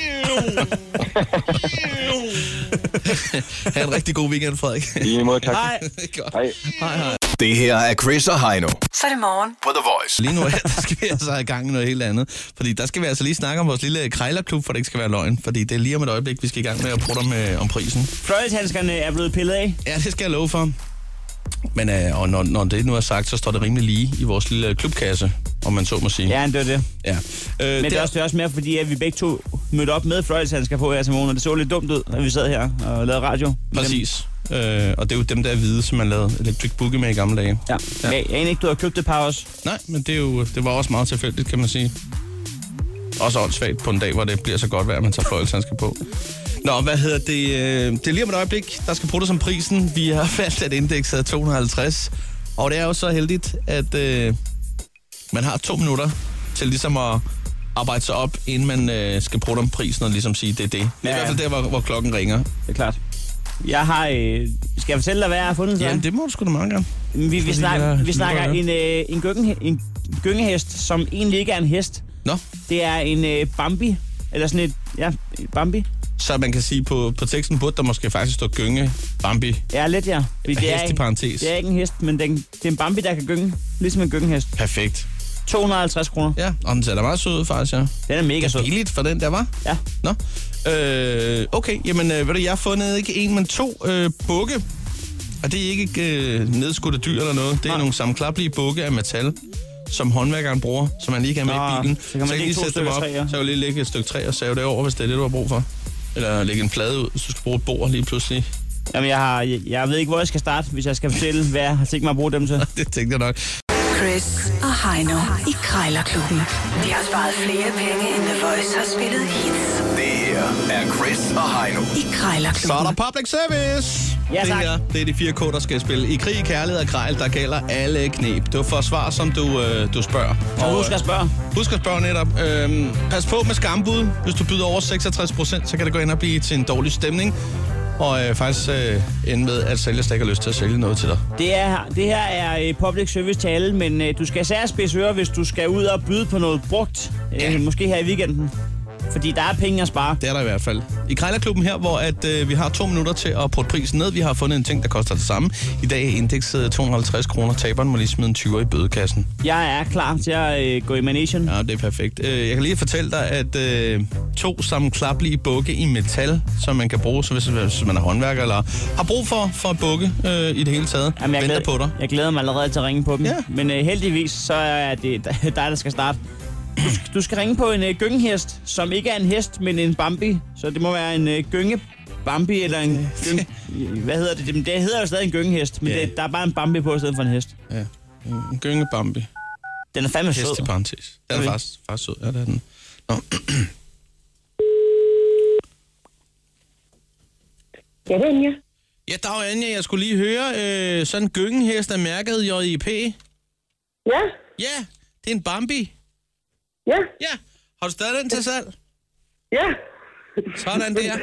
Speaker 2: Ha' en rigtig god weekend, Frederik.
Speaker 7: I lige måde, tak.
Speaker 3: Nej,
Speaker 2: Godt.
Speaker 7: Hej.
Speaker 5: Det her er Chris og Heino
Speaker 4: <laughs> Så er det morgen.
Speaker 5: på The Voice.
Speaker 2: Lige nu <laughs> her, der skal vi altså have gang i noget helt andet. Fordi der skal vi altså lige snakke om vores lille krejlerklub, for det ikke skal være løgn. Fordi det er lige om et øjeblik, vi skal i gang med at prøve om, øh, om prisen.
Speaker 3: fløjlshandskerne er blevet pillet af.
Speaker 2: Ja, det skal jeg love for. Men øh, og når, når det nu er sagt, så står det rimelig lige i vores lille klubkasse, om man så må sige.
Speaker 3: Ja, det var det.
Speaker 2: ja. Øh,
Speaker 3: Men det er også, det er også mere fordi, at vi begge to mødte op med fløjlshandsker på her til morgen, og det så lidt dumt ud, at vi sad her og lavede radio. med
Speaker 2: Præcis. Øh, og det er jo dem, der er hvide, som man lavede Electric Boogie med i gamle dage.
Speaker 3: Dem. Ja. ja. Jeg aner ikke, du har købt det par også.
Speaker 2: Nej, men det, er jo, det var også meget tilfældigt, kan man sige. Også åndssvagt på en dag, hvor det bliver så godt vejr, at man tager fløjelshandsker på. Nå, hvad hedder det? øh, Det er lige om et øjeblik, der skal bruges som prisen. Vi har <laughs> valgt, at indekset er 250. Og det er jo så heldigt, at øh, man har to minutter til ligesom at arbejde sig op, inden man øh, skal bruge om prisen og ligesom sige, det er det. Det er
Speaker 3: Ja,
Speaker 2: i hvert fald
Speaker 3: ja.
Speaker 2: der, hvor, hvor klokken ringer.
Speaker 3: Det er klart. Jeg har... Øh... Skal jeg fortælle dig, hvad jeg har fundet? så?
Speaker 2: Ja, det må du sgu da meget gerne.
Speaker 3: vi, vi, snakker,
Speaker 2: jeg-
Speaker 3: vi snakker
Speaker 2: nu
Speaker 3: en, øh, en, gynge, en gyngehest, som egentlig ikke er en hest.
Speaker 2: Nå,
Speaker 3: Det er en øh, Bambi. Eller sådan et... Ja, Bambi.
Speaker 2: så man kan sige, på, på teksten burde der måske faktisk stå gynge, Bambi.
Speaker 3: Ja, lidt ja. Fordi
Speaker 2: Hest i
Speaker 3: ikke-
Speaker 2: parentes.
Speaker 3: Det er ikke en hest, men den, det er en Bambi, der kan gynge. Ligesom en gyngehest.
Speaker 2: Perfekt.
Speaker 3: 250 kroner.
Speaker 2: Ja, og den ser da meget sød ud, faktisk, ja.
Speaker 3: Den er mega sød.
Speaker 2: Billigt for den der, var.
Speaker 3: Ja.
Speaker 2: Nå. Øh, okay, jamen øh, ved du, jeg har fundet ikke en, men to øh, bukke. Og det er ikke øh, nedskudte dyr eller noget. Det er
Speaker 3: Nej.
Speaker 2: nogle sammenklappelige bukke af metal, som håndværkeren bruger, som man lige kan have med
Speaker 3: Nå,
Speaker 2: i bilen.
Speaker 3: Ah, så kan man
Speaker 2: jeg
Speaker 3: lægge to
Speaker 2: dem
Speaker 3: stykker træer.
Speaker 2: Så kan du lige lægge et stykke træ og save det over, hvis det er det, du har brug for. Eller lægge en plade ud, hvis du skal bruge et bord lige pludselig.
Speaker 3: Jamen, jeg, har, jeg, jeg ved ikke, hvor jeg skal starte, hvis jeg skal fortælle, hvad jeg har tænkt mig at bruge dem til.
Speaker 2: <laughs> Det tænkte jeg nok.
Speaker 4: Chris og Heino i Krejlerklubben. De har sparet flere penge, end The Voice har spillet hits
Speaker 5: Det her er Chris og Heino.
Speaker 4: i
Speaker 2: <laughs> Så er
Speaker 4: Krejlerklubben.
Speaker 2: der public service.
Speaker 3: Ja,
Speaker 2: det
Speaker 3: tak.
Speaker 2: her, det er de fire K'er, der skal spille. I krig, kærlighed og krejl, der gælder alle knep. Du får svar, som du, øh, du spørger.
Speaker 3: Og husk at spørge.
Speaker 2: øh, husk at spørge netop. Øh, pas på med skambud. Hvis du byder over 66 procent, så kan det gå ind og blive til en dårlig stemning. Og øh, faktisk øh, ende med, at sælger slet ikke har lyst til at sælge noget til dig.
Speaker 3: Det, er, det her er øh, public service til alle, men øh, du skal især spidse ører, hvis du skal ud og byde på noget brugt.
Speaker 2: Ja.
Speaker 3: Øh, måske her i weekenden. Fordi der er penge at spare.
Speaker 2: Det er der i hvert fald. I Krejlerklubben her, hvor at, øh, vi har to minutter til at putte prisen ned. Vi har fundet en ting, der koster det samme. I dag er indekset 250 kroner. Taberen må lige smide en 20 i bødekassen.
Speaker 3: Jeg er klar til at øh, gå i manation. Ja.
Speaker 2: Ja, det er perfekt. Øh, Jeg kan lige fortælle dig, at øh, to sammenklappelige bukke i metal, som man kan bruge, så hvis, hvis man er håndværker eller har brug for, for at bukke øh, i det hele taget, Jamen,
Speaker 3: jeg,
Speaker 2: venter på dig.
Speaker 3: jeg glæder mig allerede til at ringe på dem.
Speaker 2: Ja.
Speaker 3: Men øh, heldigvis, så er det <laughs> dig, der skal starte. Du skal, du skal ringe på en øh, gyngehest, som ikke er en hest, men en bambi. Så det må være en øh, gynge bambi eller
Speaker 2: <laughs>
Speaker 3: en gyng... Hvad hedder det? Jamen, Det hedder jo stadig en gyngehest, men
Speaker 2: Ja.
Speaker 3: det, der er bare en bambi på i stedet for en hest.
Speaker 2: Ja. En gynge Bambi.
Speaker 3: Den er fandme
Speaker 2: Hest i
Speaker 3: sød.
Speaker 2: parentes. Den er
Speaker 3: Okay.
Speaker 2: faktisk, faktisk sød. Ja, det er den. Nå.
Speaker 6: <clears throat> Ja, det er Anja.
Speaker 2: Ja, dag Anja, jeg skulle lige høre, øh, sådan en gyngehest er mærket JIP.
Speaker 6: Ja,
Speaker 2: Ja, det er en Bambi.
Speaker 6: ja,
Speaker 2: Ja, har du stadig den til salg?
Speaker 6: ja.
Speaker 2: Sådan
Speaker 6: <laughs>
Speaker 2: der.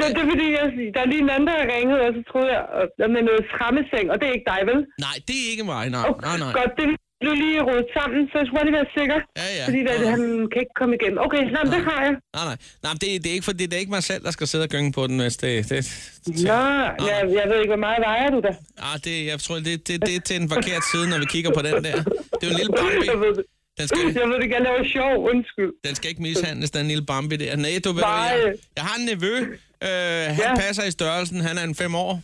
Speaker 6: Men det er fordi, jeg, der er lige en anden, der ringede, og så troede jeg, at med noget fremmeseng, og det er ikke dig, vel?
Speaker 2: Nej, det er ikke mig. Nej,
Speaker 6: Okay,
Speaker 2: nej, nej.
Speaker 6: Godt, det blev lige rodet sammen, så jeg skulle bare lige være sikker.
Speaker 2: Ja, ja.
Speaker 6: Fordi at,
Speaker 2: Ja.
Speaker 6: han kan ikke komme igennem. Okay, nej, men det har jeg.
Speaker 2: Nej, nej. nej men det, det, er ikke, for, det, det er ikke mig selv, der skal sidde og gynge på den, hvis det... det, det
Speaker 6: Nå, jeg, jeg ved ikke, hvor meget vejer du da?
Speaker 2: Ah, det, jeg tror, det, det, det er til en forkert side, når vi kigger på den der. Det er jo en lille Bambi.
Speaker 6: Jeg ved det.
Speaker 2: Den skal,
Speaker 6: Jeg ved det, jeg laver sjov, undskyld.
Speaker 2: den skal ikke mishandles, den lille Bambi der. Nej, du ved,
Speaker 6: Nej.
Speaker 2: jeg, jeg har en nevø. Øh, han
Speaker 6: Ja.
Speaker 2: passer i størrelsen. Han er en fem år.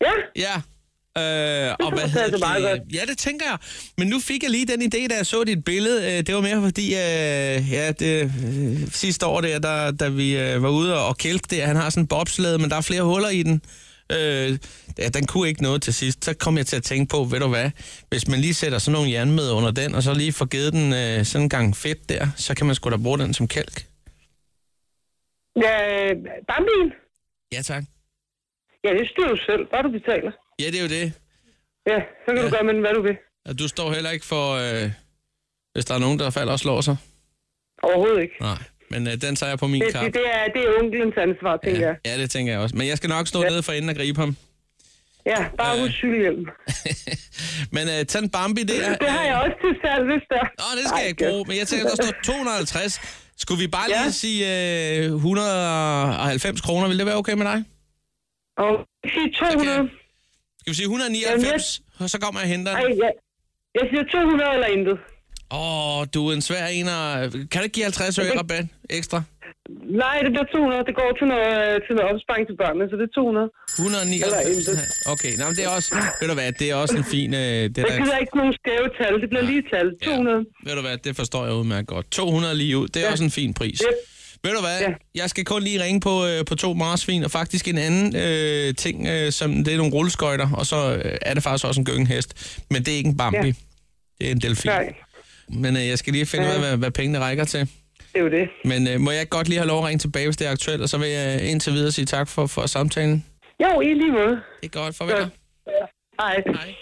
Speaker 6: Ja,
Speaker 2: Ja. Øh, og hvad
Speaker 6: passer
Speaker 2: hedder
Speaker 6: altså meget
Speaker 2: det? Ja, det tænker jeg. Men nu fik jeg lige den idé, da jeg så dit billede. Øh, Det var mere fordi, øh, ja, det, øh, sidste år der, der da vi øh, var ude og kælke der, han har sådan en bobsled, men der er flere huller i den. Øh, ja, den kunne ikke noget til sidst. Så kom jeg til at tænke på, ved du hvad, hvis man lige sætter sådan nogle jernmød under den, og så lige får givet den øh, sådan en gang fedt der, så kan man sgu da bruge den som kælk.
Speaker 6: ja Bambien.
Speaker 2: Ja, tak.
Speaker 6: Ja, det styrer du selv. Bare du betaler.
Speaker 2: Ja, det er jo det.
Speaker 6: Ja, så kan
Speaker 2: Ja.
Speaker 6: du gøre med den, hvad du vil.
Speaker 2: Og du står heller ikke for, øh, hvis der er nogen, der falder og slår sig.
Speaker 6: Overhovedet ikke.
Speaker 2: Nej, men øh, den tager jeg på min
Speaker 6: Det,
Speaker 2: kap.
Speaker 6: det, det, er, det er onkelens ansvar, tænker
Speaker 2: ja.
Speaker 6: jeg.
Speaker 2: ja, det tænker jeg også. Men jeg skal nok stå nede for enden og gribe ham. Øh.
Speaker 6: Ja, bare husk cykelhjelm.
Speaker 2: <laughs> Men øh, tag en Bambi øh, der.
Speaker 6: Det har jeg også til salg, hvis der.
Speaker 2: Nå, det skal jeg ikke bruge, men jeg tænker, der står 250. Skulle vi bare
Speaker 6: Ja.
Speaker 2: lige sige øh, 190 kroner? Vil det være okay med dig?
Speaker 6: Og sige 200.
Speaker 2: Okay. Skal vi sige 199? Og så kommer jeg og henter
Speaker 6: Ej,
Speaker 2: den.
Speaker 6: ja. Jeg siger 200 eller intet.
Speaker 2: Åh, du er en svær en. Og... Kan du ikke give 50 øre i rabat ekstra?
Speaker 6: Nej, det bliver 200. Det går til noget, øh, til noget opsparing til børnene, så det er 200.
Speaker 2: 199.
Speaker 6: Eller intet.
Speaker 2: Okay, nå, men det er også... Ved du hvad, det er også en fin... Øh, det
Speaker 6: Så
Speaker 2: der...
Speaker 6: gider jeg ikke nogen skæve tal. Det bliver lige tal. 200.
Speaker 2: Ved du hvad, det forstår jeg udmærket godt. 200 lige ud, det er ja. også en fin pris.
Speaker 6: Ja.
Speaker 2: Ved du hvad, ja.
Speaker 6: Ja.
Speaker 2: jeg skal kun lige ringe på, øh, på to marsvin, og faktisk en anden øh, ting, øh, som det er nogle rulleskøjter, og så øh, er det faktisk også en gyngehest. Men det er ikke en Bambi, ja.
Speaker 6: Ja.
Speaker 2: det er en delfin.
Speaker 6: Nej,
Speaker 2: Men øh, jeg skal lige finde ud af, hvad, hvad pengene rækker til.
Speaker 6: det er jo det.
Speaker 2: Men øh, må jeg godt lige have lov at ringe tilbage, hvis det er aktuelt, og så vil jeg indtil videre sige tak for, for samtalen.
Speaker 6: Jo, i lige måde.
Speaker 2: Det er godt, farvel. Ja.
Speaker 6: Ej.
Speaker 2: Hej.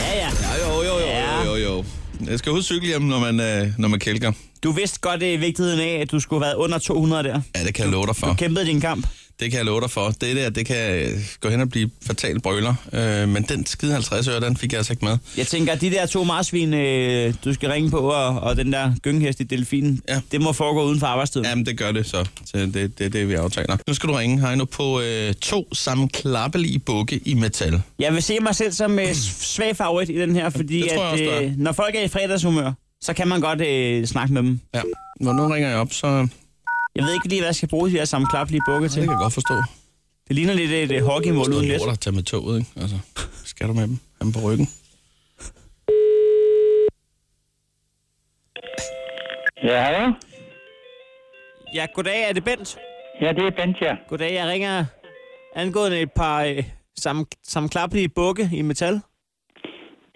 Speaker 3: Ja, ja.
Speaker 2: Jo, jo, jo,
Speaker 3: Ja.
Speaker 2: jo, jo. Jeg skal huske cykelhjem, når man, øh, når man kælker.
Speaker 3: Du vidste godt det er vigtigheden af, at du skulle have været under 200 der.
Speaker 2: Ja, det kan jeg love dig for.
Speaker 3: Du kæmpede din kamp.
Speaker 2: Det kan jeg love dig for. Det der, det kan øh, gå hen og blive fatalt brøler. Øh, men den skide 50 øre, den fik jeg altså ikke med.
Speaker 3: Jeg tænker, at de der to marsvin, øh, du skal ringe på, og, og den der gynghest i delfinen,
Speaker 2: Ja.
Speaker 3: ja. det må foregå uden for arbejdstiden. Ja.
Speaker 2: Jamen, det gør det så. så det, det er det, vi aftaler. Nu skal du ringe, Heino, på øh, to sammenklappelige bukke i metal.
Speaker 3: Jeg vil se mig selv som øh, s- svag favorit i den her, fordi
Speaker 2: Det tror jeg
Speaker 3: at,
Speaker 2: også, du er.
Speaker 3: øh, når folk er i fredagshumør, så kan man godt øh, snakke med dem.
Speaker 2: Ja. Når nu ringer jeg op, så
Speaker 3: Jeg ved ikke lige, hvad jeg skal bruge de her sammenklappelige bukke
Speaker 2: det
Speaker 3: til.
Speaker 2: kan jeg godt forstå.
Speaker 3: Det ligner lidt et øh, hockeymål uden
Speaker 2: Det
Speaker 3: net.
Speaker 2: er at tage med toget, ikke? Altså, skal du med dem? Ham på ryggen.
Speaker 8: Ja, hallo?
Speaker 3: Ja, goddag, er det Bent?
Speaker 8: Ja, det er Bent, ja.
Speaker 3: Goddag, jeg ringer angående et par øh, sammen, sammenklappelige bukke i metal.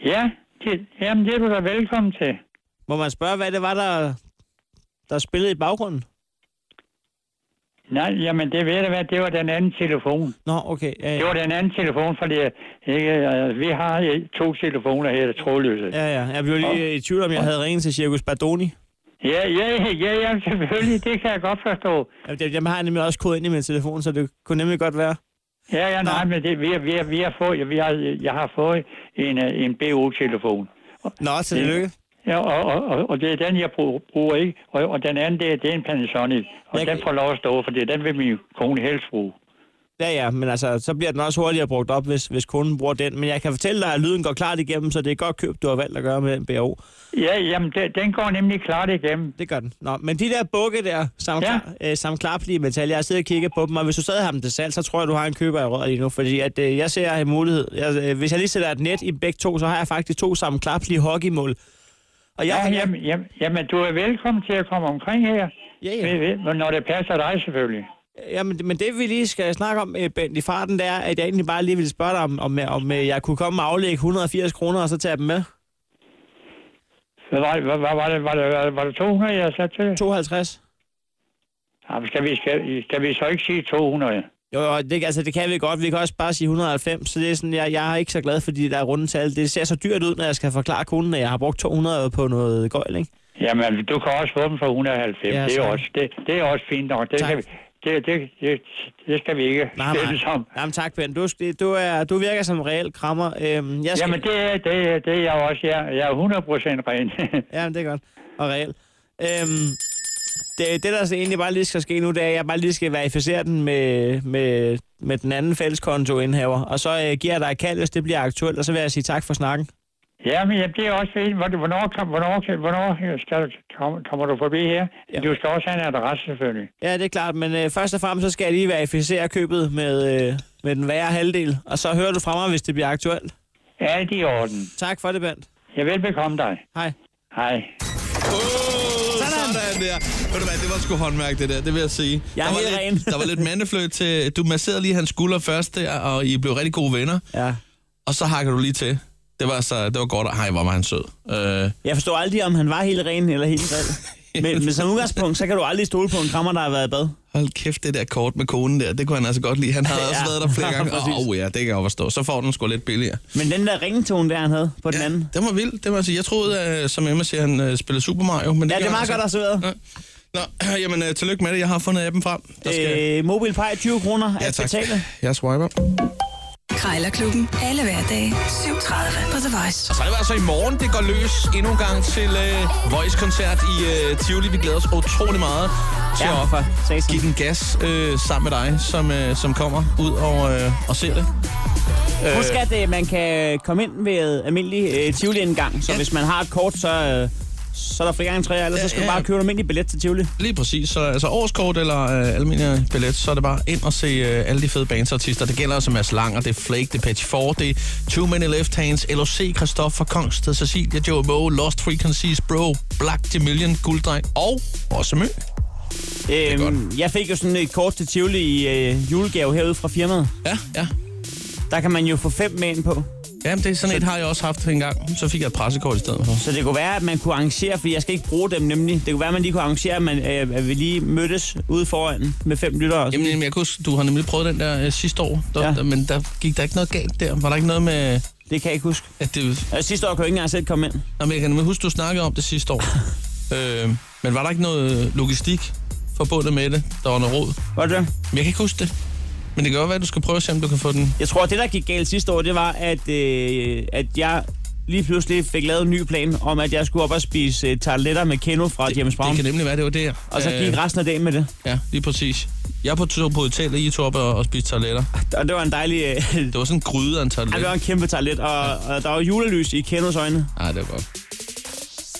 Speaker 8: Ja, det, jamen, det er du da velkommen til.
Speaker 3: Må man spørge, hvad det var, der, der spillede i baggrunden?
Speaker 8: Nej, jamen, det ved du hvad, det var den anden telefon.
Speaker 3: Nå, okay. Øh,
Speaker 8: Det var den anden telefon, fordi ikke, øh, vi har øh, to telefoner her, der er trådløse. Ja.
Speaker 3: Ja, ja. Jeg blev lige øh, i tvivl om, jeg havde ringet til Circus Bardoni.
Speaker 8: Ja, ja, ja, ja, selvfølgelig, det kan jeg godt forstå.
Speaker 3: Jamen, Dem dem har jeg nemlig også kodet ind i min telefon, så det kunne nemlig godt være.
Speaker 8: Ja, ja, nej, men det, vi, har- vi, har- vi har fået, vi har, jeg har fået en, øh, en BO-telefon.
Speaker 3: Nå, tillykke.
Speaker 8: Ja, og, og, og, og det er den, jeg bruger, bruger ikke. Og, og den anden, det er, det er en Panasonic. Og
Speaker 3: Jeg-
Speaker 8: den får lov at stå, for den vil min kone helst bruge.
Speaker 3: Ja, ja, men altså, så bliver den også hurtigere brugt op, hvis, hvis kunden bruger den. Men jeg kan fortælle dig, at lyden går klart igennem, så det er godt køb, du har valgt at gøre med den BAO.
Speaker 8: Ja, jamen, den, den går nemlig klart igennem.
Speaker 3: Det gør den. Nå, men de der bukke der, samt, ja.
Speaker 8: Ja.
Speaker 3: øh, samt klaplige metal, jeg har siddet og kigget på dem, og hvis du stadig har dem til salg, så tror jeg, du har en køber i røret lige nu, fordi at, øh, jeg ser en mulighed. Jeg, øh, hvis jeg lige sætter et net i begge to, så har jeg faktisk to sammen klaplige hockeymål. Og jeg,
Speaker 8: Ja,
Speaker 3: kan-
Speaker 8: jamen, jamen, jamen, du er velkommen til at komme omkring her.
Speaker 3: Ja, ja.
Speaker 8: Ved- ved- Men når det passer dig, selvfølgelig.
Speaker 3: Ja, men, men det vi lige skal snakke om, øh, Bent, i farten, det er, at jeg egentlig bare lige ville spørge dig, om, om, om øh, jeg kunne komme og aflægge 180 kroner, og så tage dem med.
Speaker 8: Hvad var, hvad, hvad var, det, var, det, var, det, var det 200, jeg sagde til?
Speaker 3: 52.
Speaker 8: Jamen, Ah, skal, vi, skal, skal vi så ikke sige 200?
Speaker 3: Jo, jo, det, altså, det kan vi godt. Vi kan også bare sige 190, så det er sådan, jeg, jeg er ikke så glad, fordi der er rundetal. Det ser så dyrt ud, når jeg skal forklare kunden, at jeg har brugt 200 på noget gøjl, ikke?
Speaker 8: Jamen, du kan også få dem for 190.
Speaker 3: Ja,
Speaker 8: Ja, det, er
Speaker 3: tak.
Speaker 8: også, det, det er også fint nok. Det,
Speaker 3: Tak.
Speaker 8: kan vi, det, det, det, det skal vi ikke
Speaker 3: Nej,
Speaker 8: stille
Speaker 3: nej.
Speaker 8: som.
Speaker 3: Jamen tak, Ben. Du, du, er, du virker som en reel krammer. Øhm, jeg skal,
Speaker 8: Jamen, det, er- det, er- det er jeg også. Jeg, jeg er 100% ren. <laughs>
Speaker 3: Jamen, det er godt. Og reelt. Øhm, det, det, der så egentlig bare lige skal ske nu, det er, at jeg bare lige skal verificere den med, med, med den anden fælleskontoindhaver. Og så øh, giver jeg dig et kald, hvis det bliver aktuelt, og så vil jeg sige tak for snakken.
Speaker 8: jamen, jamen, det er også fint. Hvor- Hvornår, kom- hvornår, kan- hvornår skal, kom, kommer du forbi her? Du skal også have en adresse, selvfølgelig.
Speaker 3: Ja, det er klart, men øh, først og fremmest, så skal jeg lige verificere købet med, øh, med den værre halvdel. Og så hører du fra mig, hvis det bliver aktuelt.
Speaker 8: Alt i orden.
Speaker 3: Tak for det, Bent.
Speaker 8: Jeg vil bekomme dig.
Speaker 3: Hej.
Speaker 8: Hej.
Speaker 2: Sådan. Sådan der. Ved du hvad, det var sgu håndværk, det der, det vil jeg sige.
Speaker 3: Jeg er
Speaker 2: der, var
Speaker 3: helt ren.
Speaker 2: lidt, der var lidt mandefløjt til, du masserede lige hans skulder først der, og I blev rigtig gode venner,
Speaker 3: Ja.
Speaker 2: og så hakker du lige til. Det var, så, det var godt, og hej, hvor var han sød. Øh,
Speaker 3: Jeg forstår aldrig, om han var helt ren eller helt
Speaker 2: <laughs>
Speaker 3: grim. Men, men som udgangspunkt, så kan du aldrig stole på en krammer, der har været i bad.
Speaker 2: hold kæft, det der kort med konen der, det kunne han altså godt lide. Han har også
Speaker 3: <laughs> Ja,
Speaker 2: været der flere gange.
Speaker 3: præcis.
Speaker 2: Åh oh, ja, det kan jeg jo forstå. Så får den sgu lidt billigere.
Speaker 3: Men den der ringetone, der han havde på den anden.
Speaker 2: Det var vildt, det var sige. Jeg troede, at, som Emma siger, han øh, spillede Super Mario. Men det
Speaker 3: Ja, det
Speaker 2: gør
Speaker 3: er
Speaker 2: han
Speaker 3: meget
Speaker 2: altså
Speaker 3: godt observeret.
Speaker 2: ikke. Nå, <clears throat> jamen, øh, tillykke med det. Jeg har fundet appen frem. Der skal...
Speaker 3: Øh, MobilePay 20 kroner
Speaker 2: ja,
Speaker 3: at
Speaker 2: tak.
Speaker 3: betale.
Speaker 2: Jeg swiper.
Speaker 4: Krejlerklubben. Alle hverdage. 7.30 på The Voice.
Speaker 2: Så er det var altså i morgen, det går løs endnu en gang til øh, Voice-koncert i øh, Tivoli. Vi glæder os utrolig meget til
Speaker 3: Ja, for
Speaker 2: at
Speaker 3: satan.
Speaker 2: give den gas øh, sammen med dig, som, øh, som kommer ud og, øh, og ser det.
Speaker 3: Husk, at øh, man kan komme ind ved almindelig øh, Tivoli-indgang, så
Speaker 2: Ja.
Speaker 3: hvis man har et kort, så, øh, så er der fri gang træer, ellers
Speaker 2: Ja,
Speaker 3: så skal
Speaker 2: ja,
Speaker 3: du
Speaker 2: ja.
Speaker 3: bare købe en almindelig billet til Tivoli.
Speaker 2: Lige præcis. Så altså årskort eller øh, almindelig billet, så er det bare ind og se øh, alle de fede bandsartister. Det gælder altså Mads Langer, det er Flake, det er Patch 4, det er Too Many Left Hands, LOC, Christoffer Kongsted, Cecilia, Joe Moe, Lost Frequencies, Bro, Black, The Million, Gulddreng og også Mø.
Speaker 3: Øhm, jeg fik jo sådan et kort til Tivoli i øh, julegave herude fra firmaet.
Speaker 2: Ja, ja.
Speaker 3: Der kan man jo få fem med ind på.
Speaker 2: Jamen, det er sådan et har jeg også haft en gang. Så fik jeg et pressekort i stedet for.
Speaker 3: Så det kunne være, at man kunne arrangere, for jeg skal ikke bruge dem nemlig. Det kunne være, at man lige kunne arrangere, at, man, øh, at vi lige mødtes ude foran med fem lyttere.
Speaker 2: Jamen, jamen, jeg kunne, huske, du har nemlig prøvet den der øh, sidste år, der,
Speaker 3: Ja.
Speaker 2: ja. men der gik der ikke noget galt der. Var der ikke noget med,
Speaker 3: Det kan jeg ikke huske.
Speaker 2: at det...
Speaker 3: Altså, sidste år kunne jeg ikke engang selv komme ind.
Speaker 2: Nå, men jeg kan nemlig huske, du snakkede om det
Speaker 3: <laughs>
Speaker 2: sidste år. øh, men var der ikke noget logistik forbundet med det? Der var noget råd.
Speaker 3: Var det det?
Speaker 2: Men jeg kan ikke huske det. Men det kan godt være, at du skal prøve at se, om du kan få den.
Speaker 3: Jeg tror, det, der gik galt sidste år, det var, at, øh, at jeg lige pludselig fik lavet en ny plan om, at jeg skulle op og spise øh, tarteletter med Keno fra det, James Brown.
Speaker 2: Det kan nemlig være, det var der.
Speaker 3: og så gik resten af dagen med det.
Speaker 2: Øh, Ja, lige præcis. Jeg på tog på hotel, og I tog op og, og spiste toiletter.
Speaker 3: Og det var en dejlig... Øh,
Speaker 2: Det var sådan en gryde af en
Speaker 3: ej, det var
Speaker 2: toilet.
Speaker 3: en kæmpe tartelet, og, og der var julelys i Kenos øjne.
Speaker 2: Nej, det var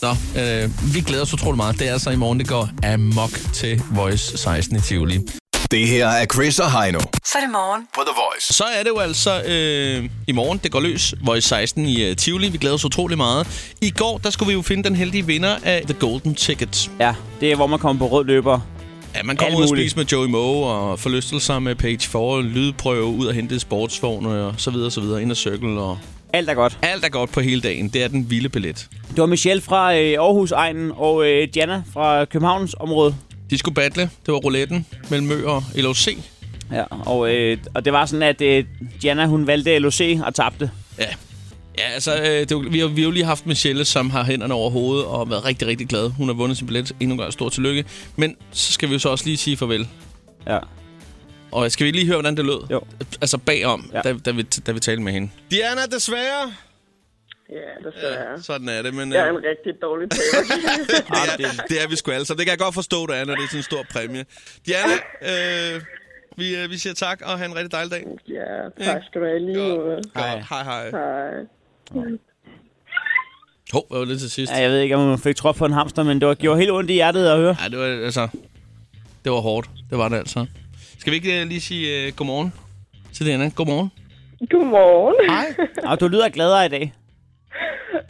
Speaker 2: godt. Nå, øh, vi glæder os utrolig meget. Det er altså i morgen, det går amok til Voice 16 i Tivoli.
Speaker 5: Det her er Chris og Heino
Speaker 4: Så er det morgen.
Speaker 5: på The Voice.
Speaker 2: Så er det jo altså øh, i morgen, det går løs, Voice 16 i øh, Tivoli. Vi glæder os utrolig meget. I går, der skulle vi jo finde den heldige vinder af The Golden Ticket.
Speaker 3: Ja, det er, hvor man kommer på rød løber.
Speaker 2: Ja, man kommer
Speaker 3: Alt
Speaker 2: ud og
Speaker 3: muligt.
Speaker 2: spise med Joey Moe og forlystelser med Page 4, lydprøve, ud og hente sportsvogne og så videre, så videre, Inner Circle og...
Speaker 3: Alt er godt.
Speaker 2: Alt er godt på hele dagen. Det er den vilde billet.
Speaker 3: Det var Michelle fra øh, Aarhus-egnen og øh, Diana fra Københavns område.
Speaker 2: De skulle battle. Det var rouletten mellem Mø og LOC.
Speaker 3: Ja, og, øh, og det var sådan, at øh, Diana hun valgte LOC og tabte.
Speaker 2: Ja. Ja, altså, øh, det, er jo- vi, har, vi har jo lige haft Michelle, som har hænderne over hovedet og været rigtig, rigtig glad. Hun har vundet sin billet. Endnu en gang stor tillykke. Men så skal vi jo så også lige sige farvel.
Speaker 3: Ja.
Speaker 2: Og skal vi lige høre, hvordan det lød?
Speaker 3: Jo.
Speaker 2: Altså bagom, ja.
Speaker 3: Ja.
Speaker 2: da, da, vi, da vi talte med hende. Diana, desværre.
Speaker 6: Ja, det skal jeg.
Speaker 2: Sådan er det, men...
Speaker 6: Jeg er
Speaker 2: øh,
Speaker 6: en rigtig
Speaker 2: <laughs>
Speaker 6: dårlig taber.
Speaker 2: det, er, det er vi sgu alle sammen. Det kan jeg godt forstå, du er, når det er sådan en stor præmie. Diana, øh, vi, øh, vi siger tak, og have en rigtig dejlig dag.
Speaker 6: ja, tak skal du have lige måde.
Speaker 2: Hej. Hej, hej.
Speaker 6: Hej.
Speaker 2: Hov, hvad var det til sidst?
Speaker 3: Ja, jeg ved ikke, om man fik trop på en hamster, men det var, gjorde helt ondt i hjertet at høre.
Speaker 2: Ja, det var altså... Det var hårdt. Det var det altså. Skal vi ikke øh, lige sige øh, godmorgen til Diana? Godmorgen.
Speaker 6: Godmorgen. <laughs>
Speaker 2: Hej.
Speaker 3: Og du lyder gladere i dag.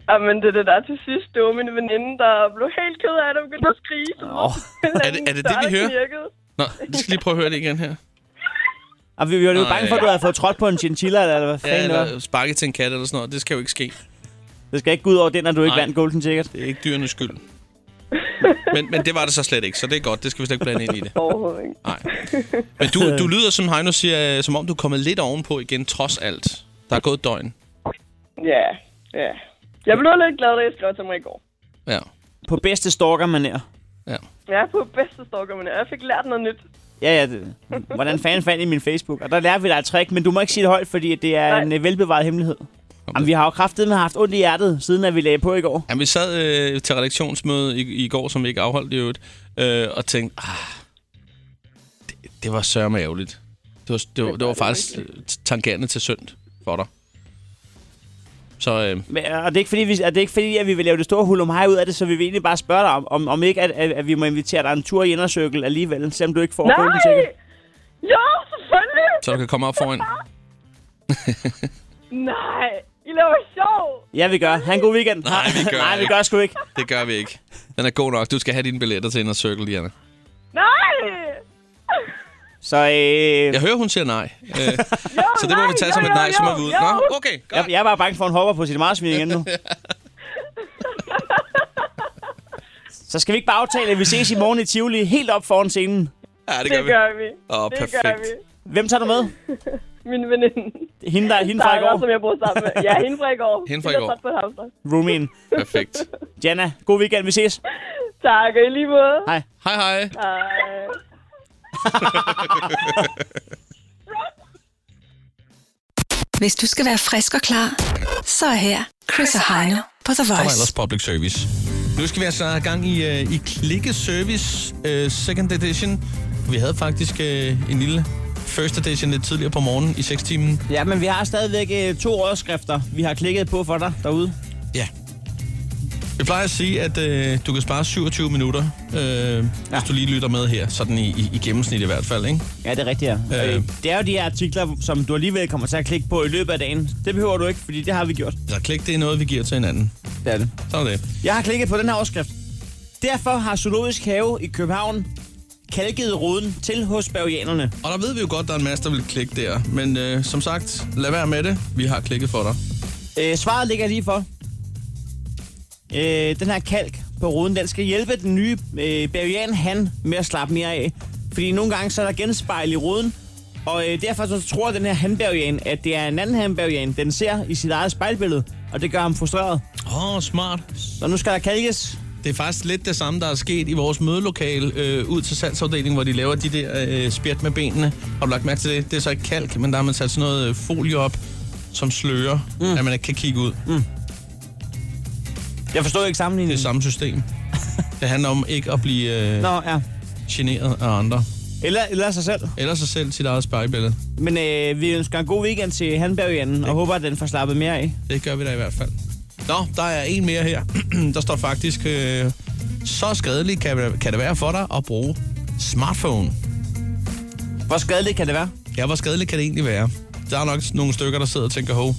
Speaker 6: Jamen, Ah, det er det der til sidst. Det var min veninde, der blev helt ked af det og begyndte at skrige.
Speaker 3: Åh.
Speaker 2: Er det- er det det, vi hører? Nå, vi skal lige prøve at høre det igen her.
Speaker 3: Og Ah, vi, vi var lidt
Speaker 2: Ej.
Speaker 3: bange for, at du havde fået trådt på en chinchilla, eller hvad
Speaker 2: Ja,
Speaker 3: fanden det var.
Speaker 2: eller sparke til en kat eller sådan noget. Det skal jo ikke ske.
Speaker 3: Det skal ikke gå ud over den, når du ikke
Speaker 2: Nej.
Speaker 3: vandt Golden Ticket.
Speaker 2: Det er ikke dyrenes skyld. Men, men det var det så slet ikke, så det er godt. Det skal vi slet ikke blande ind i det.
Speaker 6: Overhovedet ikke.
Speaker 2: Nej. Men du, du lyder, som Heino siger, øh, som om du er kommet lidt ovenpå igen, trods alt. Der er gået et døgn.
Speaker 6: Ja, ja. Jeg blev lidt glad, da jeg skrev til mig i går.
Speaker 2: Ja.
Speaker 3: På bedste stalkermanér.
Speaker 6: Jeg er på bedste stalker, men jeg fik lært noget nyt.
Speaker 3: Ja, ja. Det. Hvordan
Speaker 6: <laughs>
Speaker 3: fanden fandt I min Facebook? Og der lærer vi dig et trick, men du må ikke sige det højt, fordi det er
Speaker 6: Nej.
Speaker 3: en øh, velbevaret hemmelighed. Jamen, vi har jo kraftedeme haft ondt i hjertet, siden at vi lagde på i går.
Speaker 2: Jamen, vi sad øh, til redaktionsmøde i, i går, som vi ikke afholdt i øvrigt, øh, og tænkte, ah, det, det var sørme ærgerligt. Det var, det var, det var faktisk øh, tangerende til synd for dig. Så øh,
Speaker 3: Men, og det er ikke fordi, vi, er det ikke fordi at vi vil lave det store hul om hej ud af det, så vi vil egentlig bare spørge dig, om, om, om ikke at, at, at, vi må invitere dig en tur i indercirkel alligevel, selvom du ikke får kunden sikkert.
Speaker 6: Jo, selvfølgelig!
Speaker 2: så du kan
Speaker 6: <laughs>
Speaker 2: komme op foran.
Speaker 6: Nej, I laver sjov!
Speaker 3: Ja, vi gør. Ha' en god weekend.
Speaker 2: Nej, vi gør
Speaker 3: Nej, vi
Speaker 2: ikke.
Speaker 3: gør sgu ikke.
Speaker 2: Det gør vi ikke. Den er god nok. Du skal have dine billetter til Inner Circle, Diana.
Speaker 6: Nej!
Speaker 3: Så øh,
Speaker 2: Jeg hører, hun siger nej. Øh, så det må vi tage som et nej, så må vi ud. Nå, okay,
Speaker 3: jeg,
Speaker 2: godt.
Speaker 3: jeg er bare bange for, at hun hopper på sit marsvin igen
Speaker 6: <laughs>
Speaker 3: nu. Så skal vi ikke bare aftale, at vi ses i morgen i Tivoli, helt op foran scenen.
Speaker 2: Ja, det
Speaker 6: Det
Speaker 2: gør vi.
Speaker 6: gør vi.
Speaker 2: Åh,
Speaker 6: det gør
Speaker 2: perfekt.
Speaker 6: vi. <laughs>
Speaker 3: Hvem tager du med?
Speaker 6: Min veninde.
Speaker 3: Hende, der, hende fra i
Speaker 6: Sarah, som
Speaker 3: går.
Speaker 6: jeg boede sammen med. Ja, hende fra i går.
Speaker 2: <laughs> Hende fra i
Speaker 6: Jeg er
Speaker 2: går.
Speaker 6: træt på et hamster.
Speaker 3: Roomien.
Speaker 2: Perfekt.
Speaker 3: Jana, god weekend. Vi ses.
Speaker 6: Tak, og i lige måde.
Speaker 3: Hej.
Speaker 2: Hej, hej.
Speaker 6: Hej.
Speaker 4: Hvis du skal være frisk og klar, så er her Chris og Heino på The
Speaker 2: Og
Speaker 4: Voice.
Speaker 2: ellers public service. Nu skal vi altså have gang i, øh, i Klikke Service øh, Second Edition. Vi havde faktisk øh, en lille First Edition lidt tidligere på morgenen i 6 timen.
Speaker 3: <laughs> Ja, men vi har stadigvæk øh, to overskrifter, vi har klikket på for dig derude.
Speaker 2: Ja. Vi plejer at sige, at øh, du kan spare 27 minutter, øh, ja. hvis du lige lytter med her. Sådan i, i, i gennemsnit i hvert fald, ikke?
Speaker 3: Ja, det er rigtigt, ja.
Speaker 2: Øh.
Speaker 3: Øh. Det er jo de her artikler, som du alligevel kommer til at klikke på i løbet af dagen. Det behøver du ikke, fordi det har vi gjort.
Speaker 2: Så klik, det er noget, vi giver til hinanden.
Speaker 3: Det er det.
Speaker 2: Sådan er det.
Speaker 3: Jeg har klikket på den her overskrift. Derfor har Zoologisk Have i København kalket ruden til hos bavianerne.
Speaker 2: Og der ved vi jo godt, der er en masse, der vil klikke der. Men øh, som sagt, lad være med det. Vi har klikket for dig.
Speaker 3: Øh, svaret ligger lige for. Øh, den her kalk på ruden, den skal hjælpe den nye øh, bavian han med at slappe mere af. Fordi nogle gange så er der genspejl i ruden, og øh, derfor så tror den her hanbavian, at det er en anden hanbavian, den ser i sit eget spejlbillede, og det gør ham frustreret.
Speaker 2: Åh, oh, smart.
Speaker 3: Så nu skal der kalkes.
Speaker 2: Det er faktisk lidt det samme, der er sket i vores mødelokale øh, ud til salgsafdelingen, hvor de laver de der øh, spjæt med benene. Har du lagt mærke til det? Det er så ikke kalk, men der har man sat sådan noget øh, folie op, som slører, mm. at man ikke kan kigge ud. Mm.
Speaker 3: Jeg forstod ikke
Speaker 2: Det
Speaker 3: sammenligningen.
Speaker 2: er samme system.
Speaker 3: <laughs>
Speaker 2: det handler om ikke at blive øh,
Speaker 3: Nå, ja.
Speaker 2: generet af andre.
Speaker 3: Eller, eller sig selv.
Speaker 2: Eller sig selv sit eget spejlbillede.
Speaker 3: Men øh, vi ønsker en god weekend til hanbavianen, og håber, at den får slappet mere af.
Speaker 2: Det gør vi da i hvert fald. Nå, der er en mere her. <clears throat> der står faktisk, øh, så skadeligt kan, kan det være for dig at bruge smartphone.
Speaker 3: Hvor skadeligt kan det være?
Speaker 2: Ja, hvor skadeligt kan det egentlig være? Der er nok nogle stykker, der sidder og tænker, hov,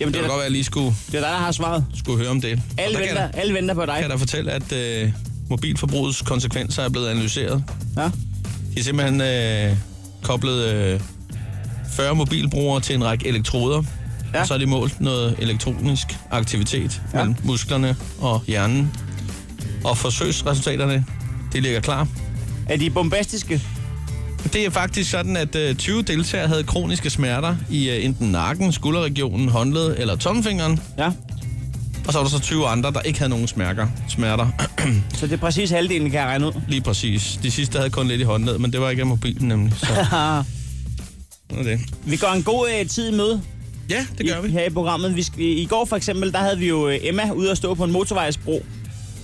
Speaker 3: Jamen,
Speaker 2: det
Speaker 3: det
Speaker 2: kan
Speaker 3: er,
Speaker 2: da godt være, at jeg lige skulle,
Speaker 3: det er dig, der har svaret.
Speaker 2: skulle høre om det.
Speaker 3: Alle
Speaker 2: Og der kan,
Speaker 3: venter,
Speaker 2: jeg-
Speaker 3: alle venter på dig.
Speaker 2: kan jeg da fortælle, at øh, mobilforbrugets konsekvenser er blevet analyseret.
Speaker 3: Ja.
Speaker 2: De er simpelthen øh, koblet øh, 40 mobilbrugere til en række elektroder.
Speaker 3: Ja.
Speaker 2: Ja. Og så har de målt noget elektronisk aktivitet ja. mellem musklerne og hjernen. Og forsøgsresultaterne, det ligger klar.
Speaker 3: Er de bombastiske?
Speaker 2: Det er faktisk sådan, at øh, 20 deltagere havde kroniske smerter i øh, enten nakken, skulderregionen, håndled eller tommelfingeren.
Speaker 3: Ja.
Speaker 2: Og så var der så 20 andre, der ikke havde nogen smerter. smerter. <clears throat>
Speaker 3: Så det er præcis halvdelen, kan jeg regne ud.
Speaker 2: Lige præcis. De sidste havde kun lidt i håndled, men det var ikke af mobilen nemlig. Så.
Speaker 3: <laughs>
Speaker 2: Sådan er det.
Speaker 3: Vi går en god øh, tid i møde
Speaker 2: Ja, det gør
Speaker 3: i,
Speaker 2: vi.
Speaker 3: her i programmet. Vi skal, I går for eksempel, der havde vi jo øh, Emma ude at stå på en motorvejsbro.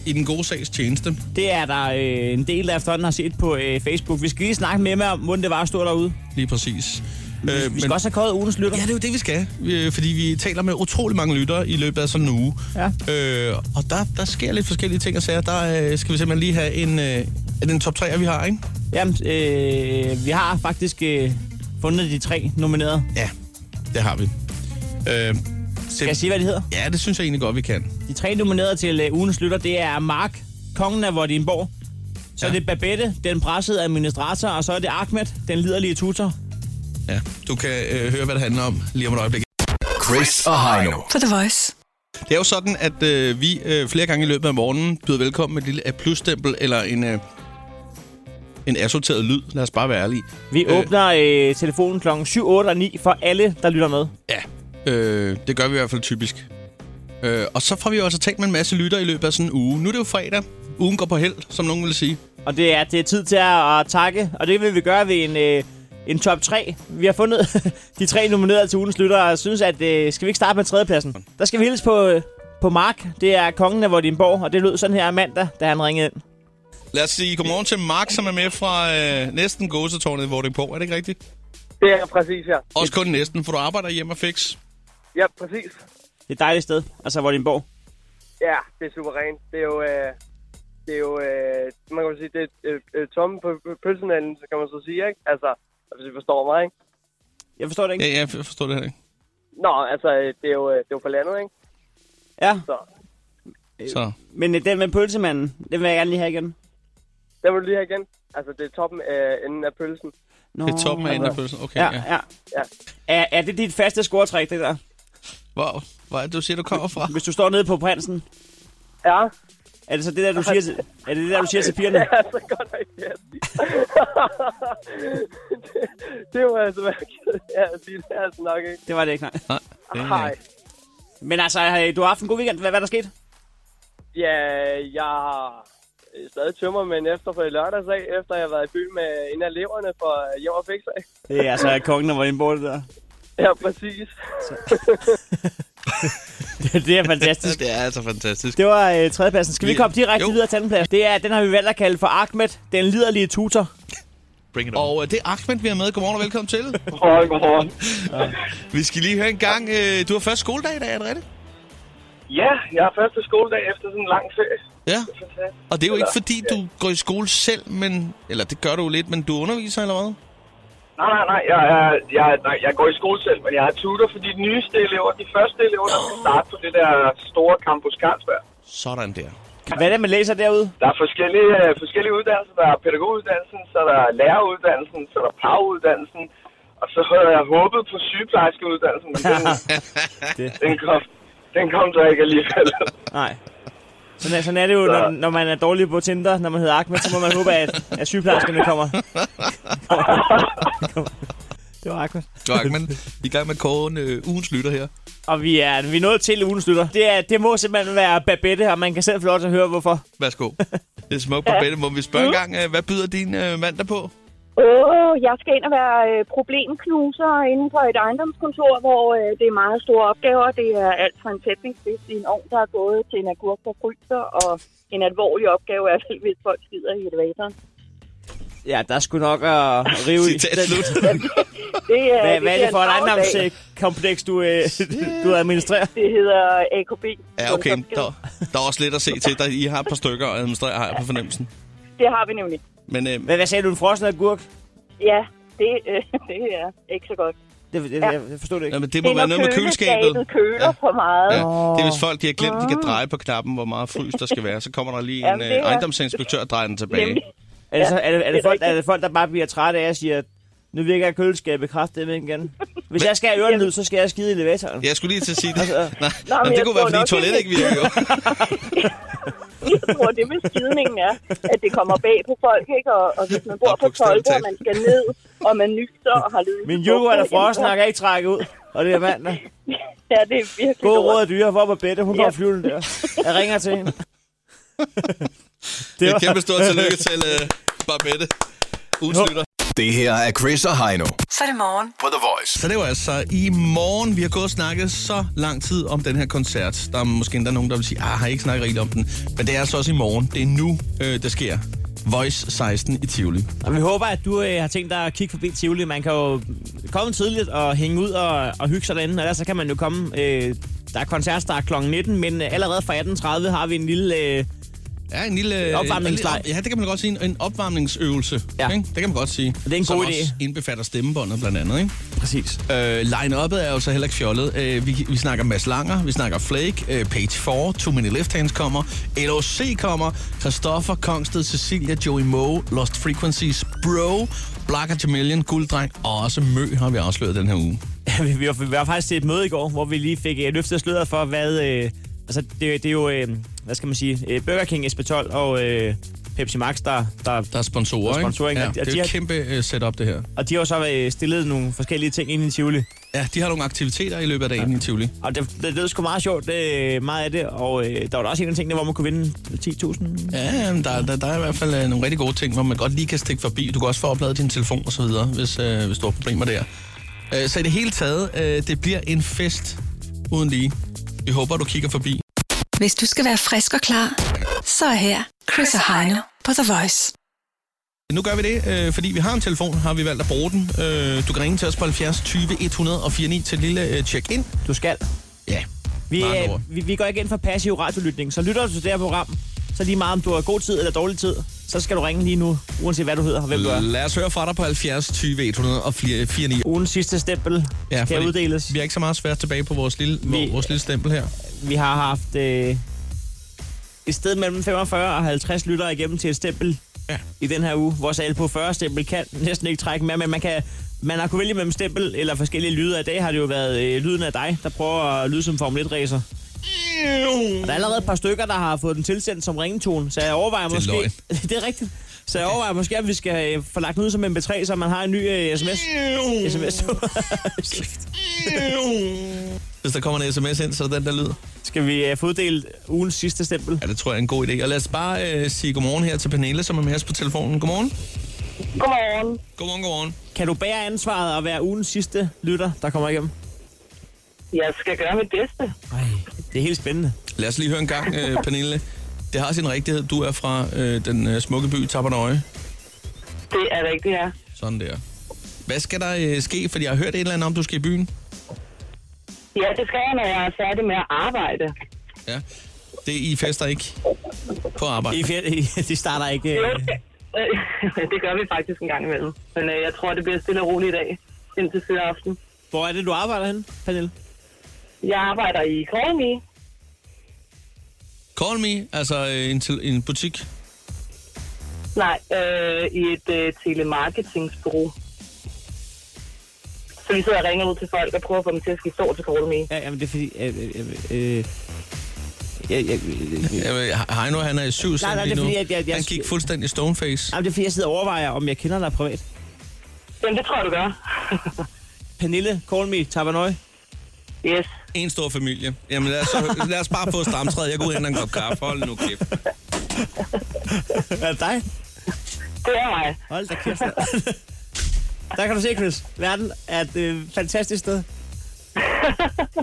Speaker 2: I den gode sags tjeneste.
Speaker 3: Det er der øh, en del, der efterhånden har set på øh, Facebook. Vi skal lige snakke med Emma om, hvordan det var at stå derude.
Speaker 2: Lige præcis. Øh,
Speaker 3: Vi skal også have kåret ugens lytter.
Speaker 2: Ja, det er jo det, vi skal. Vi- øh, Fordi vi taler med utrolig mange lyttere i løbet af sådan en uge.
Speaker 3: Ja.
Speaker 2: Øh, og der, der sker lidt forskellige ting og sager. Der øh, skal vi simpelthen lige have en, øh, er det en top 3, vi har, ikke?
Speaker 3: Jamen, øh, vi har faktisk øh, fundet de tre nominerede.
Speaker 2: Ja, det har vi. Øh,
Speaker 3: Skal jeg sige, hvad de hedder?
Speaker 2: Ja, det synes jeg egentlig godt, vi kan.
Speaker 3: De tre nominerede til øh, ugens lytter, det er Mark, kongen af Vordingborg. Så ja.
Speaker 2: Ja.
Speaker 3: er det Babette, den pressede administrator, og så er det Ahmed, den liderlige tutor.
Speaker 2: Ja. Du kan øh, høre, hvad det handler om lige om et øjeblik.
Speaker 5: Chris og Heino.
Speaker 4: På The Voice.
Speaker 2: Det er jo sådan, at øh, vi øh, flere gange i løbet af morgenen byder velkommen med et lille A-plus-stempel eller en, øh, en assorteret lyd. Lad os bare være ærlige.
Speaker 3: Vi øh.
Speaker 2: Øh.
Speaker 3: åbner øh, telefonen kl. 7, 8 og 9 for alle, der lytter med.
Speaker 2: Ja. Øh, det gør vi i hvert fald typisk. Øh, og så får vi jo altså talt med en masse lytter i løbet af sådan en uge. Nu er det jo fredag. Ugen går på held, som nogen vil sige.
Speaker 3: Og det er, det er tid til at, at takke, og det vil vi gøre ved en, øh, en top 3. Vi har fundet <laughs> de tre nominerede til ugens lytter, og jeg synes, at øh, skal vi ikke starte med tredjepladsen? Der skal vi hilse på, øh, på Mark. Det er kongen af Vordingborg, og det lød sådan her mandag, da han ringede ind.
Speaker 2: Lad os sige godmorgen til Mark, som er med fra øh, næsten gåsetårnet i Vordingborg. Er det ikke rigtigt?
Speaker 9: Det er præcis, ja.
Speaker 2: Også kun næsten, for du arbejder hjemme og fix.
Speaker 9: Ja, præcis.
Speaker 3: Det er et dejligt sted, altså Vordingborg.
Speaker 9: Ja, det er suverænt. Det er jo... Øh, det er jo... Øh, man kan jo sige, det er øh, øh, tomme på på pølsenhallen, så kan man så sige, ikke? Altså, hvis I forstår mig, ikke?
Speaker 3: Jeg forstår det ikke.
Speaker 2: Ja, ja, jeg forstår det her ikke.
Speaker 9: Nå, altså, øh, det er jo, øh, det er jo på landet, ikke?
Speaker 3: Ja,
Speaker 9: Så
Speaker 2: Så.
Speaker 3: men øh, den med pølsemanden, den vil jeg gerne lige have igen.
Speaker 9: der vil du lige her igen. Altså, det er toppen af enden af pølsen. <laughs>
Speaker 3: Nå,
Speaker 2: Det er toppen af andenfølelsen. Okay,
Speaker 3: Ja,
Speaker 2: ja.
Speaker 3: ja.
Speaker 9: Ja.
Speaker 3: Er, er det dit faste scoretræk, det der?
Speaker 2: Wow, hvor er det, du siger, du kommer fra?
Speaker 3: Hvis du står nede på prinsen,
Speaker 9: Ja,
Speaker 3: er det så det der, du siger til, er det det der, du siger til pigerne?
Speaker 9: <laughs> ja så godt nok, det er at sige. det, det må altså være ked af at sige. Det er altså nok, ikke?
Speaker 3: Det var det ikke, nej.
Speaker 2: Nej, det er
Speaker 9: Hej.
Speaker 3: Men altså, øh, du har haft en god weekend. Hvad, hvad er der sket?
Speaker 9: Ja, jeg har øh, stadig tømmer, men efter for i lørdags af, efter jeg har været i byen med en af eleverne fra Jord og Fixer.
Speaker 3: Det er altså kongen, der var inde på det der.
Speaker 9: Ja, præcis.
Speaker 3: det
Speaker 2: <laughs>
Speaker 3: er fantastisk.
Speaker 2: Det er altså fantastisk.
Speaker 3: Det var øh, tredjepladsen. Skal vi
Speaker 2: Ja.
Speaker 3: komme direkte
Speaker 2: Jo.
Speaker 3: videre til andenpladsen? Det er, den har vi valgt at kalde for Ahmed, den liderlige tutor.
Speaker 10: Bring it on.
Speaker 2: Og øh, det er Ahmed, vi har med. Godmorgen og velkommen til.
Speaker 9: Godmorgen, godmorgen.
Speaker 2: Vi skal lige høre en gang. Øh, du har først skoledag i dag, er det rigtigt?
Speaker 9: <laughs> Ja, jeg har første skoledag efter sådan en lang ferie.
Speaker 2: Ja. Og det er jo ikke fordi, du går i skole selv, men... Eller det gør du jo lidt, men du underviser eller hvad?
Speaker 9: Nej, nej, nej. Jeg, er, jeg, er- nej, jeg går i skole selv, men jeg er tutor for de nyeste elever. De første elever, der skal starte på det der store campus Carlsberg.
Speaker 2: Sådan der.
Speaker 3: Hvad er det, man læser derude?
Speaker 9: Der er forskellige, øh, forskellige uddannelser. Der er pædagoguddannelsen, så er der er læreruddannelsen, så er der paruddannelsen. Og så havde jeg håbet på sygeplejerskeuddannelsen, men den, den, kom, den kom så ikke alligevel.
Speaker 3: Nej. Sådan, er- sådan er det jo, når, når man er dårlig på Tinder, når man hedder Ahmed, så må man håbe, at, at sygeplejerskerne kommer. kommer. <laughs> Det var Ahmed.
Speaker 10: Du Ahmed, vi er i gang med kåren øh, ugens lytter her.
Speaker 3: Og vi er, vi er nået til ugen slutter. Det, er, det må simpelthen være Babette, og man kan selv få lov til at høre, hvorfor.
Speaker 2: Værsgo. Det er smukt på bedre. Må vi spørge en gang, øh, hvad byder din øh, mand der på?
Speaker 11: Åh, jeg skal ind og være øh, problemknuser inden for et ejendomskontor, hvor øh, det er meget store opgaver. Det er alt fra en sætningsfisk i en ovn, der er gået til en agurk, der fryser, og en alvorlig opgave er, <laughs> hvis folk skider i elevatoren.
Speaker 3: Ja, der skulle nok at rive i.
Speaker 2: Citat slut.
Speaker 11: Det er,
Speaker 3: Hvad, hvad er det for et
Speaker 11: bliver en travl dag.
Speaker 3: ejendomskompleks, du, øh, du administrerer?
Speaker 11: Det hedder AKB.
Speaker 2: Ja, okay. Der, der er også lidt at se til dig. I har et par stykker at administrere, har jeg på fornemmelsen.
Speaker 11: Det har vi nemlig.
Speaker 2: Men øh,
Speaker 3: Hvad, hvad sagde du, en frossen agurk?
Speaker 11: Ja, det, <laughs> øh, det er ikke så godt.
Speaker 3: Det, det, det, jeg forstod det ikke.
Speaker 2: nej, men det må være
Speaker 11: når
Speaker 2: noget med køleskabet.
Speaker 11: køler
Speaker 2: Ja.
Speaker 11: ja. for meget. Mm.
Speaker 2: Ja,
Speaker 11: Ja.
Speaker 2: det er hvis folk de har glemt, de kan dreje på knappen, hvor meget frys der skal være. Så kommer der lige en
Speaker 11: Ah. Jamen, det
Speaker 2: øh,
Speaker 11: er-
Speaker 2: ejendomsinspektør og drejer den tilbage.
Speaker 11: Nemlig.
Speaker 3: Er det, så, er, det, er,
Speaker 11: det
Speaker 3: det
Speaker 11: er
Speaker 3: folk,
Speaker 11: rigtigt.
Speaker 3: er det folk, der bare bliver trætte af at sige, at nu virker køleskabet kraftigt igen? Hvis jeg skal have ørelyd, så skal jeg skide i elevatoren. Altså,
Speaker 2: Jeg skulle lige til at sige det. Nej, nej,
Speaker 11: men
Speaker 2: det
Speaker 11: jeg
Speaker 2: kunne være,
Speaker 11: tror
Speaker 2: fordi
Speaker 11: nok,
Speaker 2: toilettet
Speaker 11: det-
Speaker 2: ikke virker. jo.
Speaker 11: Jeg tror, det med skidningen er, at det kommer bag på folk, ikke? Og, og hvis man bor
Speaker 2: Og
Speaker 11: på
Speaker 2: bogstaveligt
Speaker 11: 12, og
Speaker 2: talt.
Speaker 11: man skal ned, og man nyser og har lyst.
Speaker 3: Min yoghurt er frossen, og jeg kan ikke trække ud. Og det er mandag.
Speaker 11: <laughs> Ja, det er virkelig
Speaker 3: God råd
Speaker 11: lort.
Speaker 3: af dyre, hvor på bedte. Hun
Speaker 11: Ja.
Speaker 3: går flyvende der. Jeg ringer til hende.
Speaker 2: Det er kæmpe stort tillykke til øh, Barbette. Ugens lytter.
Speaker 5: Det her er Chris og Heino
Speaker 4: Så er det morgen.
Speaker 5: på The Voice.
Speaker 2: Så det var altså i morgen, vi har gået og snakket så lang tid om den her koncert. Der er måske endda nogen, der vil sige, ah, har I ikke snakket rigtigt om den? Men det er altså også i morgen. Det er nu, øh, det sker. Voice 16 i Tivoli.
Speaker 3: Og vi håber, at du øh, har tænkt dig at kigge forbi Tivoli. Man kan jo komme tidligt og hænge ud og, og hygge sig derinde, og ellers så kan man jo komme. Øh, der er koncertstart kl. 19, men øh, allerede fra 18.30 har vi en lille... Øh,
Speaker 2: Ja, en lille... øh,
Speaker 3: Opvarmningsleg.
Speaker 2: en lille- Ja, det kan man godt sige. En- En opvarmningsøvelse.
Speaker 3: Ja.
Speaker 2: Ikke? Det kan man godt sige.
Speaker 3: er en
Speaker 2: Som
Speaker 3: god idé.
Speaker 2: også indbefatter stemmebåndet blandt andet, ikke?
Speaker 3: Præcis.
Speaker 2: Øh, line-uppet er jo så heller ikke fjollet. Øh, vi, vi snakker Mads Langer, vi snakker Flake, øh, Page 4, Too Many Left Hands kommer, LOC kommer, Christoffer, Kongsted, Cecilia, Joey Moe, Lost Frequencies, Bro, Blacker Chameleon, Gulddreng og også Mø har vi afsløret den her uge.
Speaker 3: <laughs> vi, vi, var, vi var faktisk til et møde i går, hvor vi lige fik øh, løftet sløret for, hvad... Øh, altså, det, det er jo, øh, hvad skal man sige, øh, Burger King, SP12 og øh, Pepsi Max, der, der...
Speaker 2: Der er sponsorer,
Speaker 3: Der er sponsorer, ikke?
Speaker 2: Ja,
Speaker 3: Og
Speaker 2: det
Speaker 3: de
Speaker 2: er et
Speaker 3: har-
Speaker 2: kæmpe øh, setup, det her.
Speaker 3: Og de har jo så øh, stillet nogle forskellige ting ind i Tivoli.
Speaker 2: Ja, de har nogle aktiviteter i løbet af dagen ja. i Tivoli.
Speaker 3: Og det, det, det er sgu meget sjovt, det, meget af det. Og øh, der var da også en af tingene, hvor man kunne vinde 10.000.
Speaker 2: Ja, jamen, der, der, der er i hvert fald øh, nogle rigtig gode ting, hvor man godt lige kan stikke forbi. Du kan også få opladet din telefon og så videre, hvis, øh, hvis du har problemer der. Øh, så i det hele taget, øh, det bliver en fest uden lige. Vi håber, du kigger forbi.
Speaker 4: Hvis du skal være frisk og klar, så er her Chris og Heino på The Voice.
Speaker 2: Nu gør vi det, øh, fordi vi har en telefon, har vi valgt at bruge den. Øh, du kan ringe til os på 70 20 104 9 til et lille øh, check-in.
Speaker 3: Du skal.
Speaker 2: Ja,
Speaker 3: Vi,
Speaker 2: Mange ord.
Speaker 3: øh, vi, vi går ikke ind for passiv radiolytning, så lytter du til det her program, så lige meget om du har god tid eller dårlig tid, så skal du ringe lige nu, uanset hvad du hedder og hvem du er.
Speaker 2: Lad os høre fra dig på 70 20 104 9.
Speaker 3: Ugens sidste stempel
Speaker 2: Ja,
Speaker 3: skal
Speaker 2: fordi
Speaker 3: uddeles.
Speaker 2: Vi er ikke så meget svært tilbage på vores lille, vi... vores lille stempel her.
Speaker 3: Vi har haft øh, et sted mellem 45 og 50 lyttere igennem til et stempel
Speaker 2: ja.
Speaker 3: i den her uge. Vores al på 40 stempel kan næsten ikke trække mere, men man, kan, man har kunnet vælge mellem stempel eller forskellige lyde. I dag har det jo været øh, lyden af dig, der prøver at lyde som Formel 1-racer. Og der er allerede et par stykker, der har fået den tilsendt som ringetone, så jeg overvejer
Speaker 2: Det er
Speaker 3: måske...
Speaker 2: løgn.
Speaker 3: <laughs> det er rigtigt. Så jeg overvejer måske, at vi skal øh, få lagt den ud som MP3, så man har en ny øh, sms. sms.
Speaker 2: Hvis der kommer en sms ind, så er det den der lyd.
Speaker 3: skal vi øh, få uddelt ugens sidste stempel?
Speaker 2: Ja, det tror jeg er en god idé. Og lad os bare øh, sige godmorgen her til Pernille, som er med os på telefonen. Godmorgen.
Speaker 6: Godmorgen.
Speaker 2: Godmorgen, godmorgen.
Speaker 3: Kan du bære ansvaret og være ugens sidste lytter, der kommer igennem?
Speaker 6: Jeg skal gøre mit bedste.
Speaker 3: Det er helt spændende.
Speaker 2: Lad os lige høre en gang, øh, Pernille. Det har sin rigtighed. Du er fra øh, den øh, smukke by Tabernøje.
Speaker 6: Det er rigtigt, ja.
Speaker 2: Sådan der. Hvad skal der øh, ske? Fordi jeg har hørt et eller andet om, du skal i byen.
Speaker 6: Ja, det skal jeg, når jeg er færdig med at arbejde.
Speaker 2: Ja. Det I fester ikke på arbejde.
Speaker 3: <laughs> I, fjer- de starter ikke... Øh,
Speaker 6: Øh, <laughs> det gør vi faktisk en gang imellem. Men øh, jeg tror, det bliver stille og roligt i dag, indtil fyrre aften.
Speaker 3: hvor er det, du arbejder hen, Pernille?
Speaker 6: Jeg arbejder i Kåre
Speaker 2: Call me, altså øh, en, til, en butik.
Speaker 6: Nej, øh, i et øh, telemarketingsbureau. Så vi sidder og ringer ud til folk og prøver at få dem til at skifte over til Kåre
Speaker 3: Ja, jamen det er fordi... Øh, øh, øh, jeg, jeg,
Speaker 2: Øh, Heino, han er i syv
Speaker 3: Nej, nej,
Speaker 2: lige
Speaker 3: det er
Speaker 2: nu.
Speaker 3: fordi, at jeg- jeg-
Speaker 2: Han gik fuldstændig stoneface.
Speaker 3: jamen, det er fordi, jeg sidder og overvejer, om jeg kender dig privat.
Speaker 6: Jamen, det tror jeg, du gør.
Speaker 3: Pernille, call me, Tabanøj.
Speaker 6: Yes.
Speaker 2: En stor familie. Jamen lad os, så- <laughs> lad os bare få stramtræet. Jeg går ud og henter en kop kaffe. Hold nu kæft.
Speaker 3: <laughs> Er det dig?
Speaker 6: Det er mig.
Speaker 3: Hold da kæft. <laughs> Der kan du se, Chris. Verden er et øh, fantastisk
Speaker 6: <laughs>
Speaker 3: sted.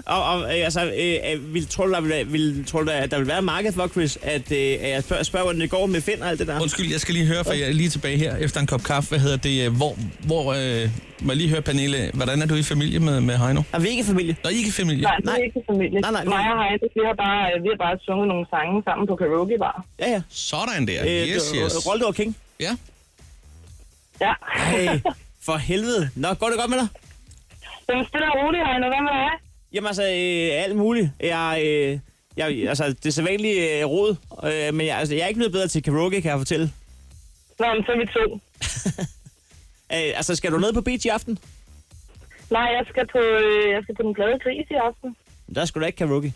Speaker 3: og, og øh, altså, øh, øh, vil, tror, du, der vil, vil, tror du, der- at der vil være et marked for, Chris, at øh, at jeg spørger, spørger, hvordan det går med Finn og alt det der?
Speaker 2: Undskyld, jeg skal lige høre, for jeg er lige tilbage her efter en kop kaffe. Hvad hedder det? øh, Hvor, hvor øh, må jeg lige høre, Pernille, hvordan er du i familie med, med Heino?
Speaker 3: Er vi ikke familie?
Speaker 2: Nå, I er ikke i familie?
Speaker 6: Nej, det er ikke familie.
Speaker 3: Nej, nej, vi-
Speaker 6: Mig og Heide, vi har bare, øh, vi har bare sunget nogle sange sammen på karaokebar.
Speaker 3: Ja, Øh, ja.
Speaker 2: Sådan der. Yes,
Speaker 3: det-
Speaker 2: yes.
Speaker 3: Roldor King.
Speaker 2: Ja.
Speaker 6: Ja.
Speaker 3: Ej, for helvede. Nå, går det godt med dig?
Speaker 6: Jamen, stille og roligt, Heine. Hvad med dig?
Speaker 3: Jamen altså, øh, alt muligt. Jeg, øh, jeg, altså, det er så vanligt øh, rod, øh, men jeg, altså, jeg er ikke blevet bedre til karaoke, kan jeg fortælle.
Speaker 6: Nå, men så er vi to.
Speaker 3: <laughs> Øh, altså, skal du ned på beach i aften?
Speaker 6: Nej, jeg skal på, øh, jeg skal på den glade gris i aften.
Speaker 3: Der skal du da ikke karaoke.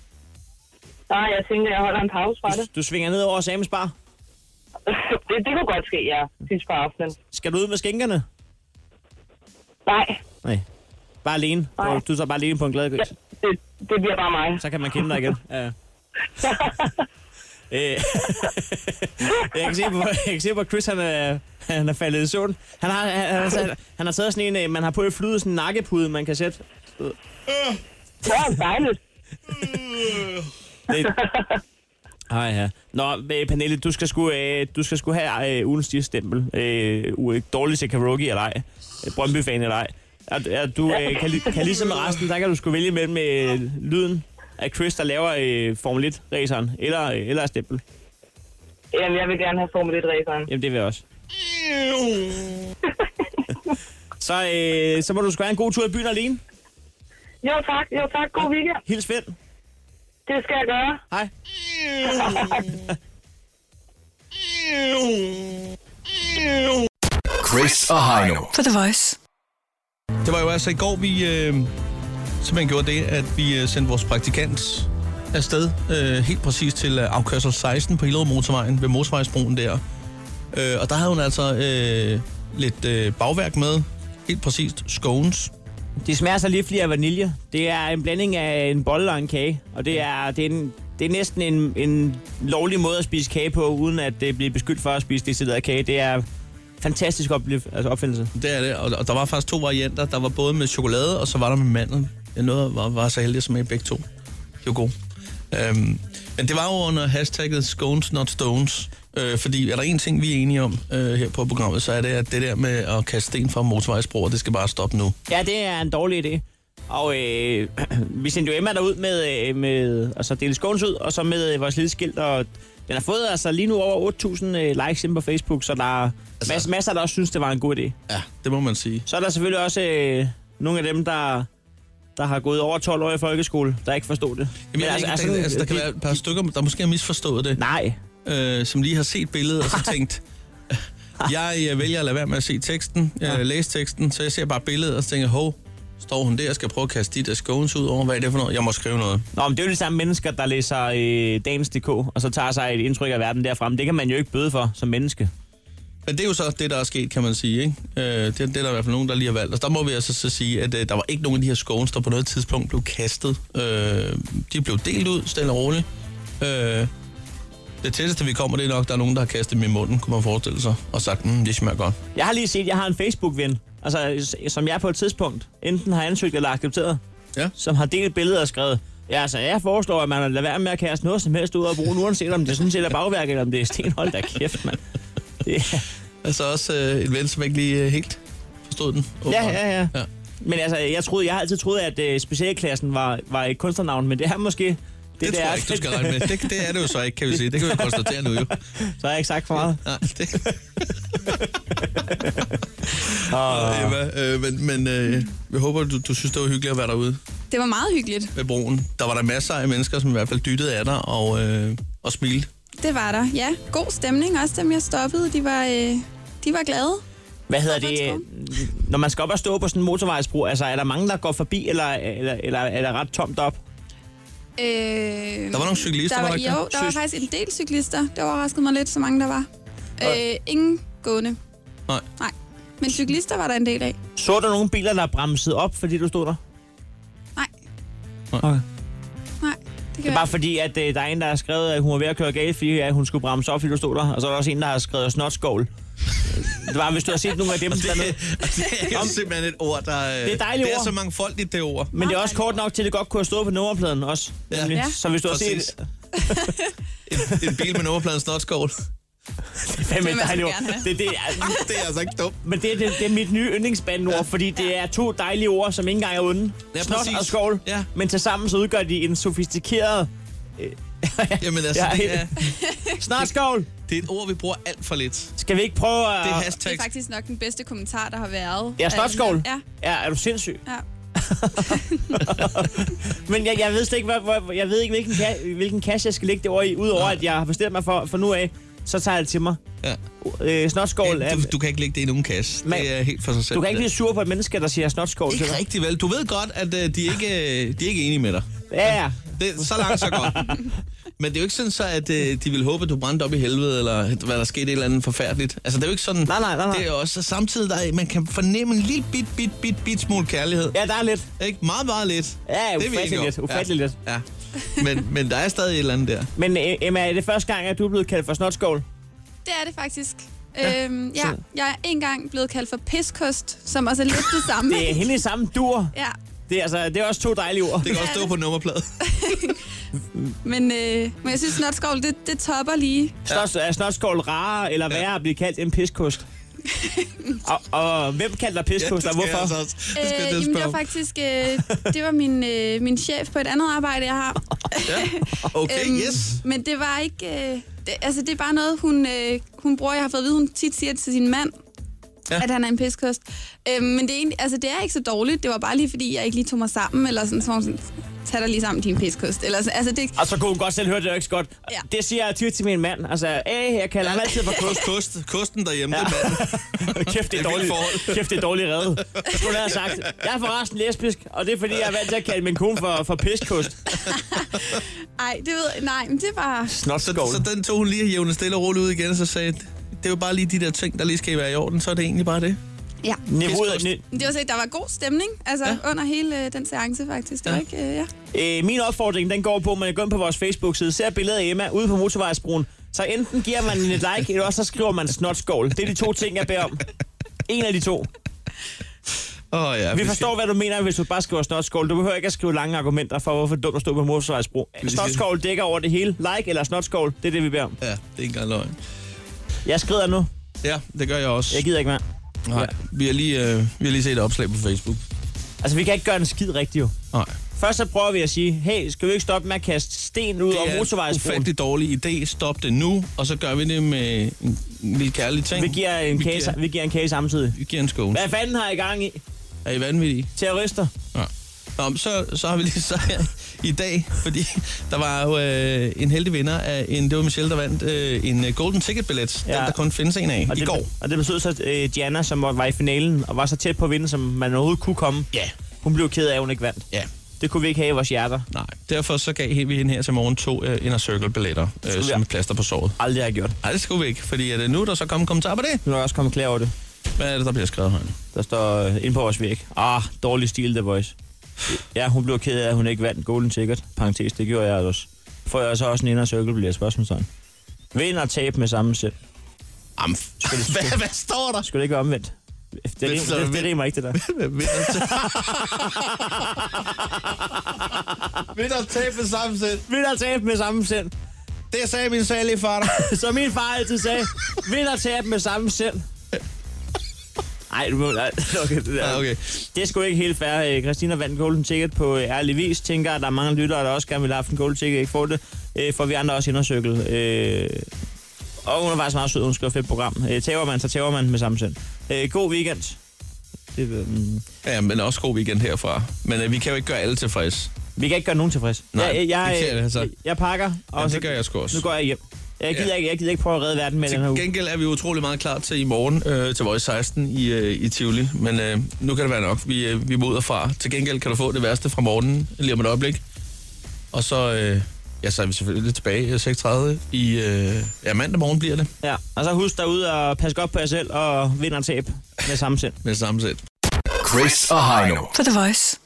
Speaker 6: Nej, jeg tænker, jeg holder en pause fra det.
Speaker 3: Du svinger ned over Samens Bar.
Speaker 6: <laughs> det, det kunne godt ske, ja, sidst på aftenen.
Speaker 3: Skal du ud med skænkerne?
Speaker 6: Nej,
Speaker 3: Nej. Bare alene.
Speaker 6: Nej.
Speaker 3: Du, du tager bare alene på en glad gris.
Speaker 6: det, det bliver bare mig.
Speaker 3: Så kan man kende dig igen. Ja. Øh, jeg, kan se på, jeg kan se på Chris, han er, han er faldet i søvn. Han har, han, han, har- han har taget sådan en, øh, man har på i flyet, sådan en nakkepude, man kan sætte.
Speaker 6: Det er dejligt.
Speaker 3: Det... Ej, ja. Nå, øh, Pernille, du skal sgu, øh, du skal sgu have øh, ugens stempel. Øh, u- dårlig til karaoke eller ej. Øh, Brøndby-fan eller ej. At, at du øh, kan, li- kan ligesom med resten, der kan du sgu vælge mellem øh, lyden af Chris, der laver øh, Formel 1-raceren, eller, øh, eller stempel.
Speaker 6: Jamen, jeg vil gerne have Formel 1-raceren.
Speaker 3: Jamen, det vil jeg også. Så, øh, så må du sgu have en god tur i byen alene.
Speaker 6: Jo tak, jo tak. God weekend.
Speaker 3: Hils Finn.
Speaker 6: Det skal jeg gøre.
Speaker 3: Hej. <laughs>
Speaker 5: Chris og Heino.
Speaker 4: På The Voice.
Speaker 2: Det var jo altså i går, vi øh, simpelthen gjorde det, at vi øh, sendte vores praktikant afsted øh, helt præcis til øh, afkørsel 16 på Hillerød Motorvejen ved Motorvejsbroen der. Øh, og der havde hun altså øh, lidt øh, bagværk med, helt præcist scones,
Speaker 3: Det smager så lidt af vanilje. Det er en blanding af en bolle og en kage, og det er, det er, en, det er næsten en, en lovlig måde at spise kage på, uden at det bliver beskyldt for at spise decideret kage. Det er fantastisk oplev- altså opfindelse.
Speaker 2: Det er det, og, og der var faktisk to varianter. Der var både med chokolade, og så var der med mandel. Jeg nåede, var, var så heldig som jeg begge to. Det var gode. Øhm, men det var jo under hashtagget scones not stones. Øh, fordi er der en ting, vi er enige om øh, her på programmet, så er det, at det der med at kaste sten fra motorvejsbroer, det skal bare stoppe nu.
Speaker 3: Ja, det er en dårlig idé. Og øh, <clears throat> vi sendte jo Emma derud med, øh, med altså Dele Skåns ud, og så med øh, vores lille skilt, og den har fået altså lige nu over 8.000 øh, likes inde på Facebook, så der er altså, masser, masser, der også synes, det var en god idé.
Speaker 2: Ja, det må man sige.
Speaker 3: Så er der selvfølgelig også øh, nogle af dem, der, der har gået over 12 år i folkeskole, der ikke forstod det.
Speaker 2: Jamen, jeg altså, altså, altså, der kan være et par stykker, der måske har misforstået det.
Speaker 3: Nej.
Speaker 2: Øh, som lige har set billedet og så
Speaker 3: <laughs>
Speaker 2: tænkt, jeg øh, vælger at lade være med at se teksten, jeg ja. læse teksten, så jeg ser bare billedet og så tænker, hov, står hun der og skal prøve at kaste de der scones ud over, hvad er det for noget? Jeg må skrive noget.
Speaker 3: Nå, men det er jo de samme mennesker, der læser øh, Dagens.dk, og så tager sig et indtryk af verden derfremme. Det kan man jo ikke bøde for som menneske.
Speaker 2: Men det er jo så det, der er sket, kan man sige. Ikke? Øh, det, det er der i hvert fald nogen, der lige har valgt. Og der må vi altså så sige, at øh, der var ikke nogen af de her scones, der på noget tidspunkt blev kastet. Øh, de blev delt ud, stille og roligt. Øh, det tætteste, vi kommer, det er nok, der er nogen, der har kastet dem i munden, kunne man forestille sig. Og sagt, mm, det smager godt.
Speaker 3: Jeg har lige set, at jeg har en Facebook-ven, altså, s- som jeg på et tidspunkt enten har ansøgt eller accepteret,
Speaker 2: ja.
Speaker 3: som har delt billeder og skrevet, Ja, altså, jeg foreslår, at man lader være med at kaste noget som helst ud af brugen, uanset om det sådan set er bagværk, eller om det er sten. Hold da kæft, mand. Det er...
Speaker 2: Altså også øh, et ven, som ikke lige øh, helt forstod den.
Speaker 3: Ja, ja, ja, ja. Men altså, jeg, troede, jeg har altid troet, at øh, specialklassen var, var et kunstnernavn, men det er måske... Det,
Speaker 2: Det, det tror jeg ikke, du skal regne med. Det, det er det jo så ikke, kan vi sige. Det kan vi konstatere nu jo.
Speaker 3: <laughs> Så har jeg ikke sagt for meget.
Speaker 2: Nej, det...
Speaker 3: Ah.
Speaker 2: Oh. Emma, øh, men men øh, jeg håber, du, du synes, det var hyggeligt at være derude
Speaker 12: Det var meget hyggeligt.
Speaker 2: ved broen. Der var der masser af mennesker, som i hvert fald dyttede af dig og, øh, og smilte.
Speaker 12: Det var der. Ja, god stemning. Også dem, jeg stoppede, de var, øh, de var glade.
Speaker 3: <laughs> Hvad hedder det, øh, når man skal op og stå på sådan en motorvejsbro? Altså, er der mange, der går forbi, eller, eller, eller er der ret tomt op?
Speaker 12: Øh,
Speaker 3: Der var nogle cyklister,
Speaker 12: der var,
Speaker 3: var der ikke
Speaker 12: Jo,
Speaker 3: det?
Speaker 12: der var
Speaker 3: Synes-
Speaker 12: faktisk en del cyklister. Det overraskede mig lidt, så mange der var. Øh, ingen gående.
Speaker 2: Nej.
Speaker 12: Nej. Men cyklister var der en del af.
Speaker 3: Så der nogle biler, der bremsede op, fordi du stod der?
Speaker 12: Nej.
Speaker 3: Okay.
Speaker 12: Nej, det
Speaker 3: Det
Speaker 12: kan
Speaker 3: er bare
Speaker 12: være.
Speaker 3: fordi, at øh, der er en, der har skrevet, at hun var ved at køre galt, fordi at hun skulle bremse op, fordi du stod der. Og så er der også en, der har skrevet
Speaker 2: <laughs>
Speaker 3: snotskål. det var, hvis du har set nogle af dem, der
Speaker 2: Det er simpelthen et ord, der... Øh,
Speaker 3: Det er dejligt
Speaker 2: Det er
Speaker 3: ord.
Speaker 2: så mangfoldigt, det ord.
Speaker 3: Men det er også kort nok til, at det godt kunne have stået på nummerpladen også.
Speaker 2: Ja.
Speaker 3: nemlig.
Speaker 2: Ja.
Speaker 3: Så hvis du har
Speaker 2: Præcis.
Speaker 3: set...
Speaker 2: en, en bil med nummerpladen
Speaker 3: <laughs>
Speaker 2: snotskål.
Speaker 3: Fandme
Speaker 2: Det vil man
Speaker 3: dejligt ord.
Speaker 2: så gerne have.
Speaker 3: Det, det, er,
Speaker 2: det er altså ikke dumt.
Speaker 3: Men det, er det, det er mit nye yndlingsbandeord, fordi det er to dejlige ord, som ikke engang er onde.
Speaker 2: Ja,
Speaker 3: Snot
Speaker 2: præcis.
Speaker 3: og skål. Ja. Men til sammen så udgør de en sofistikeret... øh,
Speaker 2: <laughs> Jamen altså,
Speaker 3: Ja,
Speaker 2: det er...
Speaker 3: Snart skål!
Speaker 2: Det er et ord, vi bruger alt for lidt.
Speaker 3: Skal vi ikke prøve at...
Speaker 2: Det Øh, er
Speaker 12: Det
Speaker 2: hashtag.
Speaker 12: er faktisk nok den bedste kommentar, der har været.
Speaker 3: Ja, snotskål.
Speaker 12: Ja.
Speaker 3: Ja, er du sindssyg?
Speaker 12: Ja.
Speaker 3: Men jeg, jeg ved slet ikke, hvor, hvor, jeg ved ikke hvilken, ka- hvilken kasse jeg skal lægge det over i, udover at jeg har bestemt mig for, for nu af, så tager jeg det til mig.
Speaker 2: Ja.
Speaker 3: Øh, snotskål er...
Speaker 2: Du, du kan ikke lægge det i nogen kasse.
Speaker 3: Man-
Speaker 2: det er helt for sig selv.
Speaker 3: Du kan ikke
Speaker 2: det
Speaker 3: blive sur på et menneske, der siger snotskål
Speaker 2: der.
Speaker 3: til
Speaker 2: Ikke
Speaker 3: dig.
Speaker 2: rigtig vel. Du ved godt, at øh, de, er ikke, øh, de er ikke enige med dig.
Speaker 3: Ja, ja.
Speaker 2: Det, så langt, så
Speaker 3: <laughs>
Speaker 2: godt. Men det er jo ikke sådan så, at øh, de vil håbe, at du brændte op i helvede, eller at- hvad der skete et eller andet forfærdeligt. Altså, det er jo ikke sådan... Nej,
Speaker 3: nej, nej. nej.
Speaker 2: Det er jo også samtidig, der er, man kan fornemme en lille bit, bit, bit, bit smule kærlighed.
Speaker 3: Ja, der er lidt.
Speaker 2: Ikke? Meget, meget lidt.
Speaker 3: Ja,
Speaker 2: Det er vi
Speaker 3: ufatteligt
Speaker 2: enige om.
Speaker 3: lidt, ufatteligt
Speaker 2: ja.
Speaker 3: lidt.
Speaker 2: Ja. Men, men der er stadig et eller andet der.
Speaker 3: Men øh, Emma, er det første gang, at du er blevet kaldt for snotskål?
Speaker 12: Det er det faktisk. Ja. Øhm, ja, jeg er engang blevet kaldt for piskost, som også er lidt det samme.
Speaker 3: <laughs> Det er hende i samme dur.
Speaker 12: Ja,
Speaker 3: Det er, altså, det er også to dejlige ord. Det
Speaker 2: kan også stå på
Speaker 3: <laughs>
Speaker 2: nummerpladen.
Speaker 12: men, øh, men jeg synes, snotskål, det, det topper lige.
Speaker 3: Snot, er snotskål rarere eller værre at blive kaldt
Speaker 12: <laughs>
Speaker 3: en piskost? og, og hvem kalder dig piskost,
Speaker 2: Ja,
Speaker 3: og
Speaker 2: det skal jeg
Speaker 3: hvorfor?
Speaker 2: altså
Speaker 3: Altså
Speaker 2: også.
Speaker 12: Øh, jamen, det var faktisk øh, det var min, øh, min chef på et andet arbejde, jeg har.
Speaker 2: Okay,
Speaker 12: Øhm,
Speaker 2: yes.
Speaker 12: Men det var ikke... Øh, det, altså, det er bare noget, hun, øh, hun bruger. Jeg har fået at vide, hun tit siger det til sin mand,
Speaker 2: Ja.
Speaker 12: ja. at han er en piskost. Øhm, men det er, egentlig, altså, det er ikke så dårligt. Det var bare lige, fordi jeg ikke lige tog mig sammen, eller sådan, så var hun sådan, tag dig lige sammen, din piskost. Eller, sådan- altså, det,
Speaker 3: og så kunne hun godt selv høre, det er ikke så godt.
Speaker 12: Ja.
Speaker 3: Det siger jeg tit til min mand. Altså, æh, jeg kalder ham altid for kost.
Speaker 2: Kost, kosten derhjemme, ja. det er manden.
Speaker 3: <laughs> Kæft, det
Speaker 2: Det
Speaker 3: er
Speaker 2: er vildt
Speaker 3: dårligt.
Speaker 2: forhold.
Speaker 3: Kæft, det er dårligt reddet. Jeg skulle have sagt, jeg er forresten lesbisk, og det er fordi, jeg er vant til at kalde min kone for, for piskost.
Speaker 12: ej, det ved jeg, nej, men det var...
Speaker 3: Snotskål.
Speaker 2: Så, så den tog hun lige og jævnede stille og roligt ud igen, og så sagde, det er jo bare lige de der ting, der lige skal være i orden, så er det egentlig bare det.
Speaker 12: Ja.
Speaker 3: Niveauet, ni,
Speaker 12: Men Det var så, der var god stemning altså, ja. under hele øh, den seance faktisk. Det var ja. ikke, øh, ja.
Speaker 3: Øh, min opfordring, den går på, at man går ind på vores Facebook-side, ser billedet af Emma ude på motorvejsbroen, så enten giver man en et like, eller også så skriver man snotskål. Det er de to ting, jeg beder om. En af de to.
Speaker 2: Oh, ja,
Speaker 3: Vi forstår, hvad du mener, hvis du bare skriver snotskål. Du behøver ikke at skrive lange argumenter for, hvorfor det er dumt at stå på motorvejsbro. Snotskål dækker over det hele. Like eller snotskål, det er det, vi beder om.
Speaker 2: Ja, det er ikke engang løgn.
Speaker 3: Jeg skrider nu.
Speaker 2: Ja, det gør jeg også. Jeg
Speaker 3: gider ikke mere.
Speaker 2: Nej, ja. vi, har lige, øh, vi har lige set et opslag på Facebook.
Speaker 3: Altså, vi kan ikke gøre en skid rigtigt, jo.
Speaker 2: Nej.
Speaker 3: Først så prøver vi at sige, hey, skal vi ikke stoppe med at kaste sten ud over
Speaker 2: Det er en
Speaker 3: motorvejsbroen?
Speaker 2: ufattelig dårlig idé. Stop det nu, og så gør vi det med en en lille kærlig ting.
Speaker 3: Vi giver en kage sam- vi giver en kage samtidig.
Speaker 2: Vi giver en skål.
Speaker 3: Hvad fanden har I gang i?
Speaker 2: Er I vanvittige?
Speaker 3: Terrorister.
Speaker 2: Ja. Nå, men så, så har vi lige så i dag, fordi der var jo øh, en heldig vinder af en, det var Michelle, der vandt øh, en øh, golden ticket-billet, ja. den der kun findes en af,
Speaker 3: Og
Speaker 2: i
Speaker 3: det,
Speaker 2: går.
Speaker 3: Og det betød så, at øh, Diana, som var i finalen, og var så tæt på at vinde, som man overhovedet kunne komme,
Speaker 2: ja.
Speaker 3: hun blev ked af, at hun ikke vandt.
Speaker 2: Ja.
Speaker 3: Det kunne vi ikke have i vores hjerter.
Speaker 2: Nej, derfor så gav vi hende her til morgen to øh, Inner Circle-billetter, øh, som et plaster på såret.
Speaker 3: Aldrig har gjort.
Speaker 2: Nej, det skulle vi ikke, fordi at, øh, nu er der så kommet kommentarer på det.
Speaker 3: Nu er der også kommet klar over det.
Speaker 2: Hvad er det, der bliver skrevet herinde?
Speaker 3: Der står øh, ind på vores væg. Ah, dårlig stil, The Voice. Ja, hun blev ked af, at hun ikke vandt Golden Ticket. Parenthes, det gjorde jeg også. Får jeg så også en inner circle, bliver spørgsmålstegn. Vind og tab med samme sæt.
Speaker 2: Amf. Hvad, hvad står der?
Speaker 3: Skulle det ikke være omvendt? Det, det,
Speaker 2: så
Speaker 3: det, det
Speaker 2: vind-
Speaker 3: rimer ikke,
Speaker 2: <laughs>
Speaker 3: det der.
Speaker 2: Vinder og tab med samme sind.
Speaker 3: Vinder og tab med samme sind.
Speaker 2: Det sagde min særlige far.
Speaker 3: <laughs> Så min far altid sagde, vinder og tab med samme sind. Ej, du må... Nej, <laughs> okay, det, der.
Speaker 2: Ah, okay.
Speaker 3: det er sgu ikke helt fair. Øh, Christina vandt Golden Ticket på øh, ærlig vis. Tænker, at der er mange lyttere, der også gerne vil have haft en Golden Ticket. Ikke får det. Øh, For vi andre også indercirkel. Øh, og hun er faktisk meget sød. Hun skriver fedt program. Øh, Taber man, så taber man med samme sind. Øh, God weekend. Det, mm.
Speaker 2: Ja, men også god weekend herfra. Men øh, vi kan jo ikke gøre alle tilfredse.
Speaker 3: Vi kan ikke gøre nogen tilfreds.
Speaker 2: Nej,
Speaker 3: jeg, øh, jeg,
Speaker 2: det kan jeg da så.
Speaker 3: jeg, jeg pakker. Og
Speaker 2: Jamen,
Speaker 3: så-
Speaker 2: det gør jeg sgu også.
Speaker 3: Nu går jeg hjem. Jeg gider,
Speaker 2: Ja.
Speaker 3: ja. ikke, jeg gider ikke prøve at redde verden med den her
Speaker 2: Til
Speaker 3: uge.
Speaker 2: gengæld er vi utrolig meget klar til i morgen øh, til Voice 16 i, øh, i Tivoli. Men øh, nu kan det være nok. Vi, øh, vi moder fra. Til gengæld kan du få det værste fra morgenen lige om et øjeblik. Og så, øh, ja, så er vi selvfølgelig tilbage øh, 6.30 i... Øh, ja, mandag morgen bliver det.
Speaker 3: Ja, og så husk derude og pas godt på jer selv og vinder tab med samme sind.
Speaker 2: Med samme sæt.
Speaker 5: Chris og Heino.
Speaker 4: På The Voice.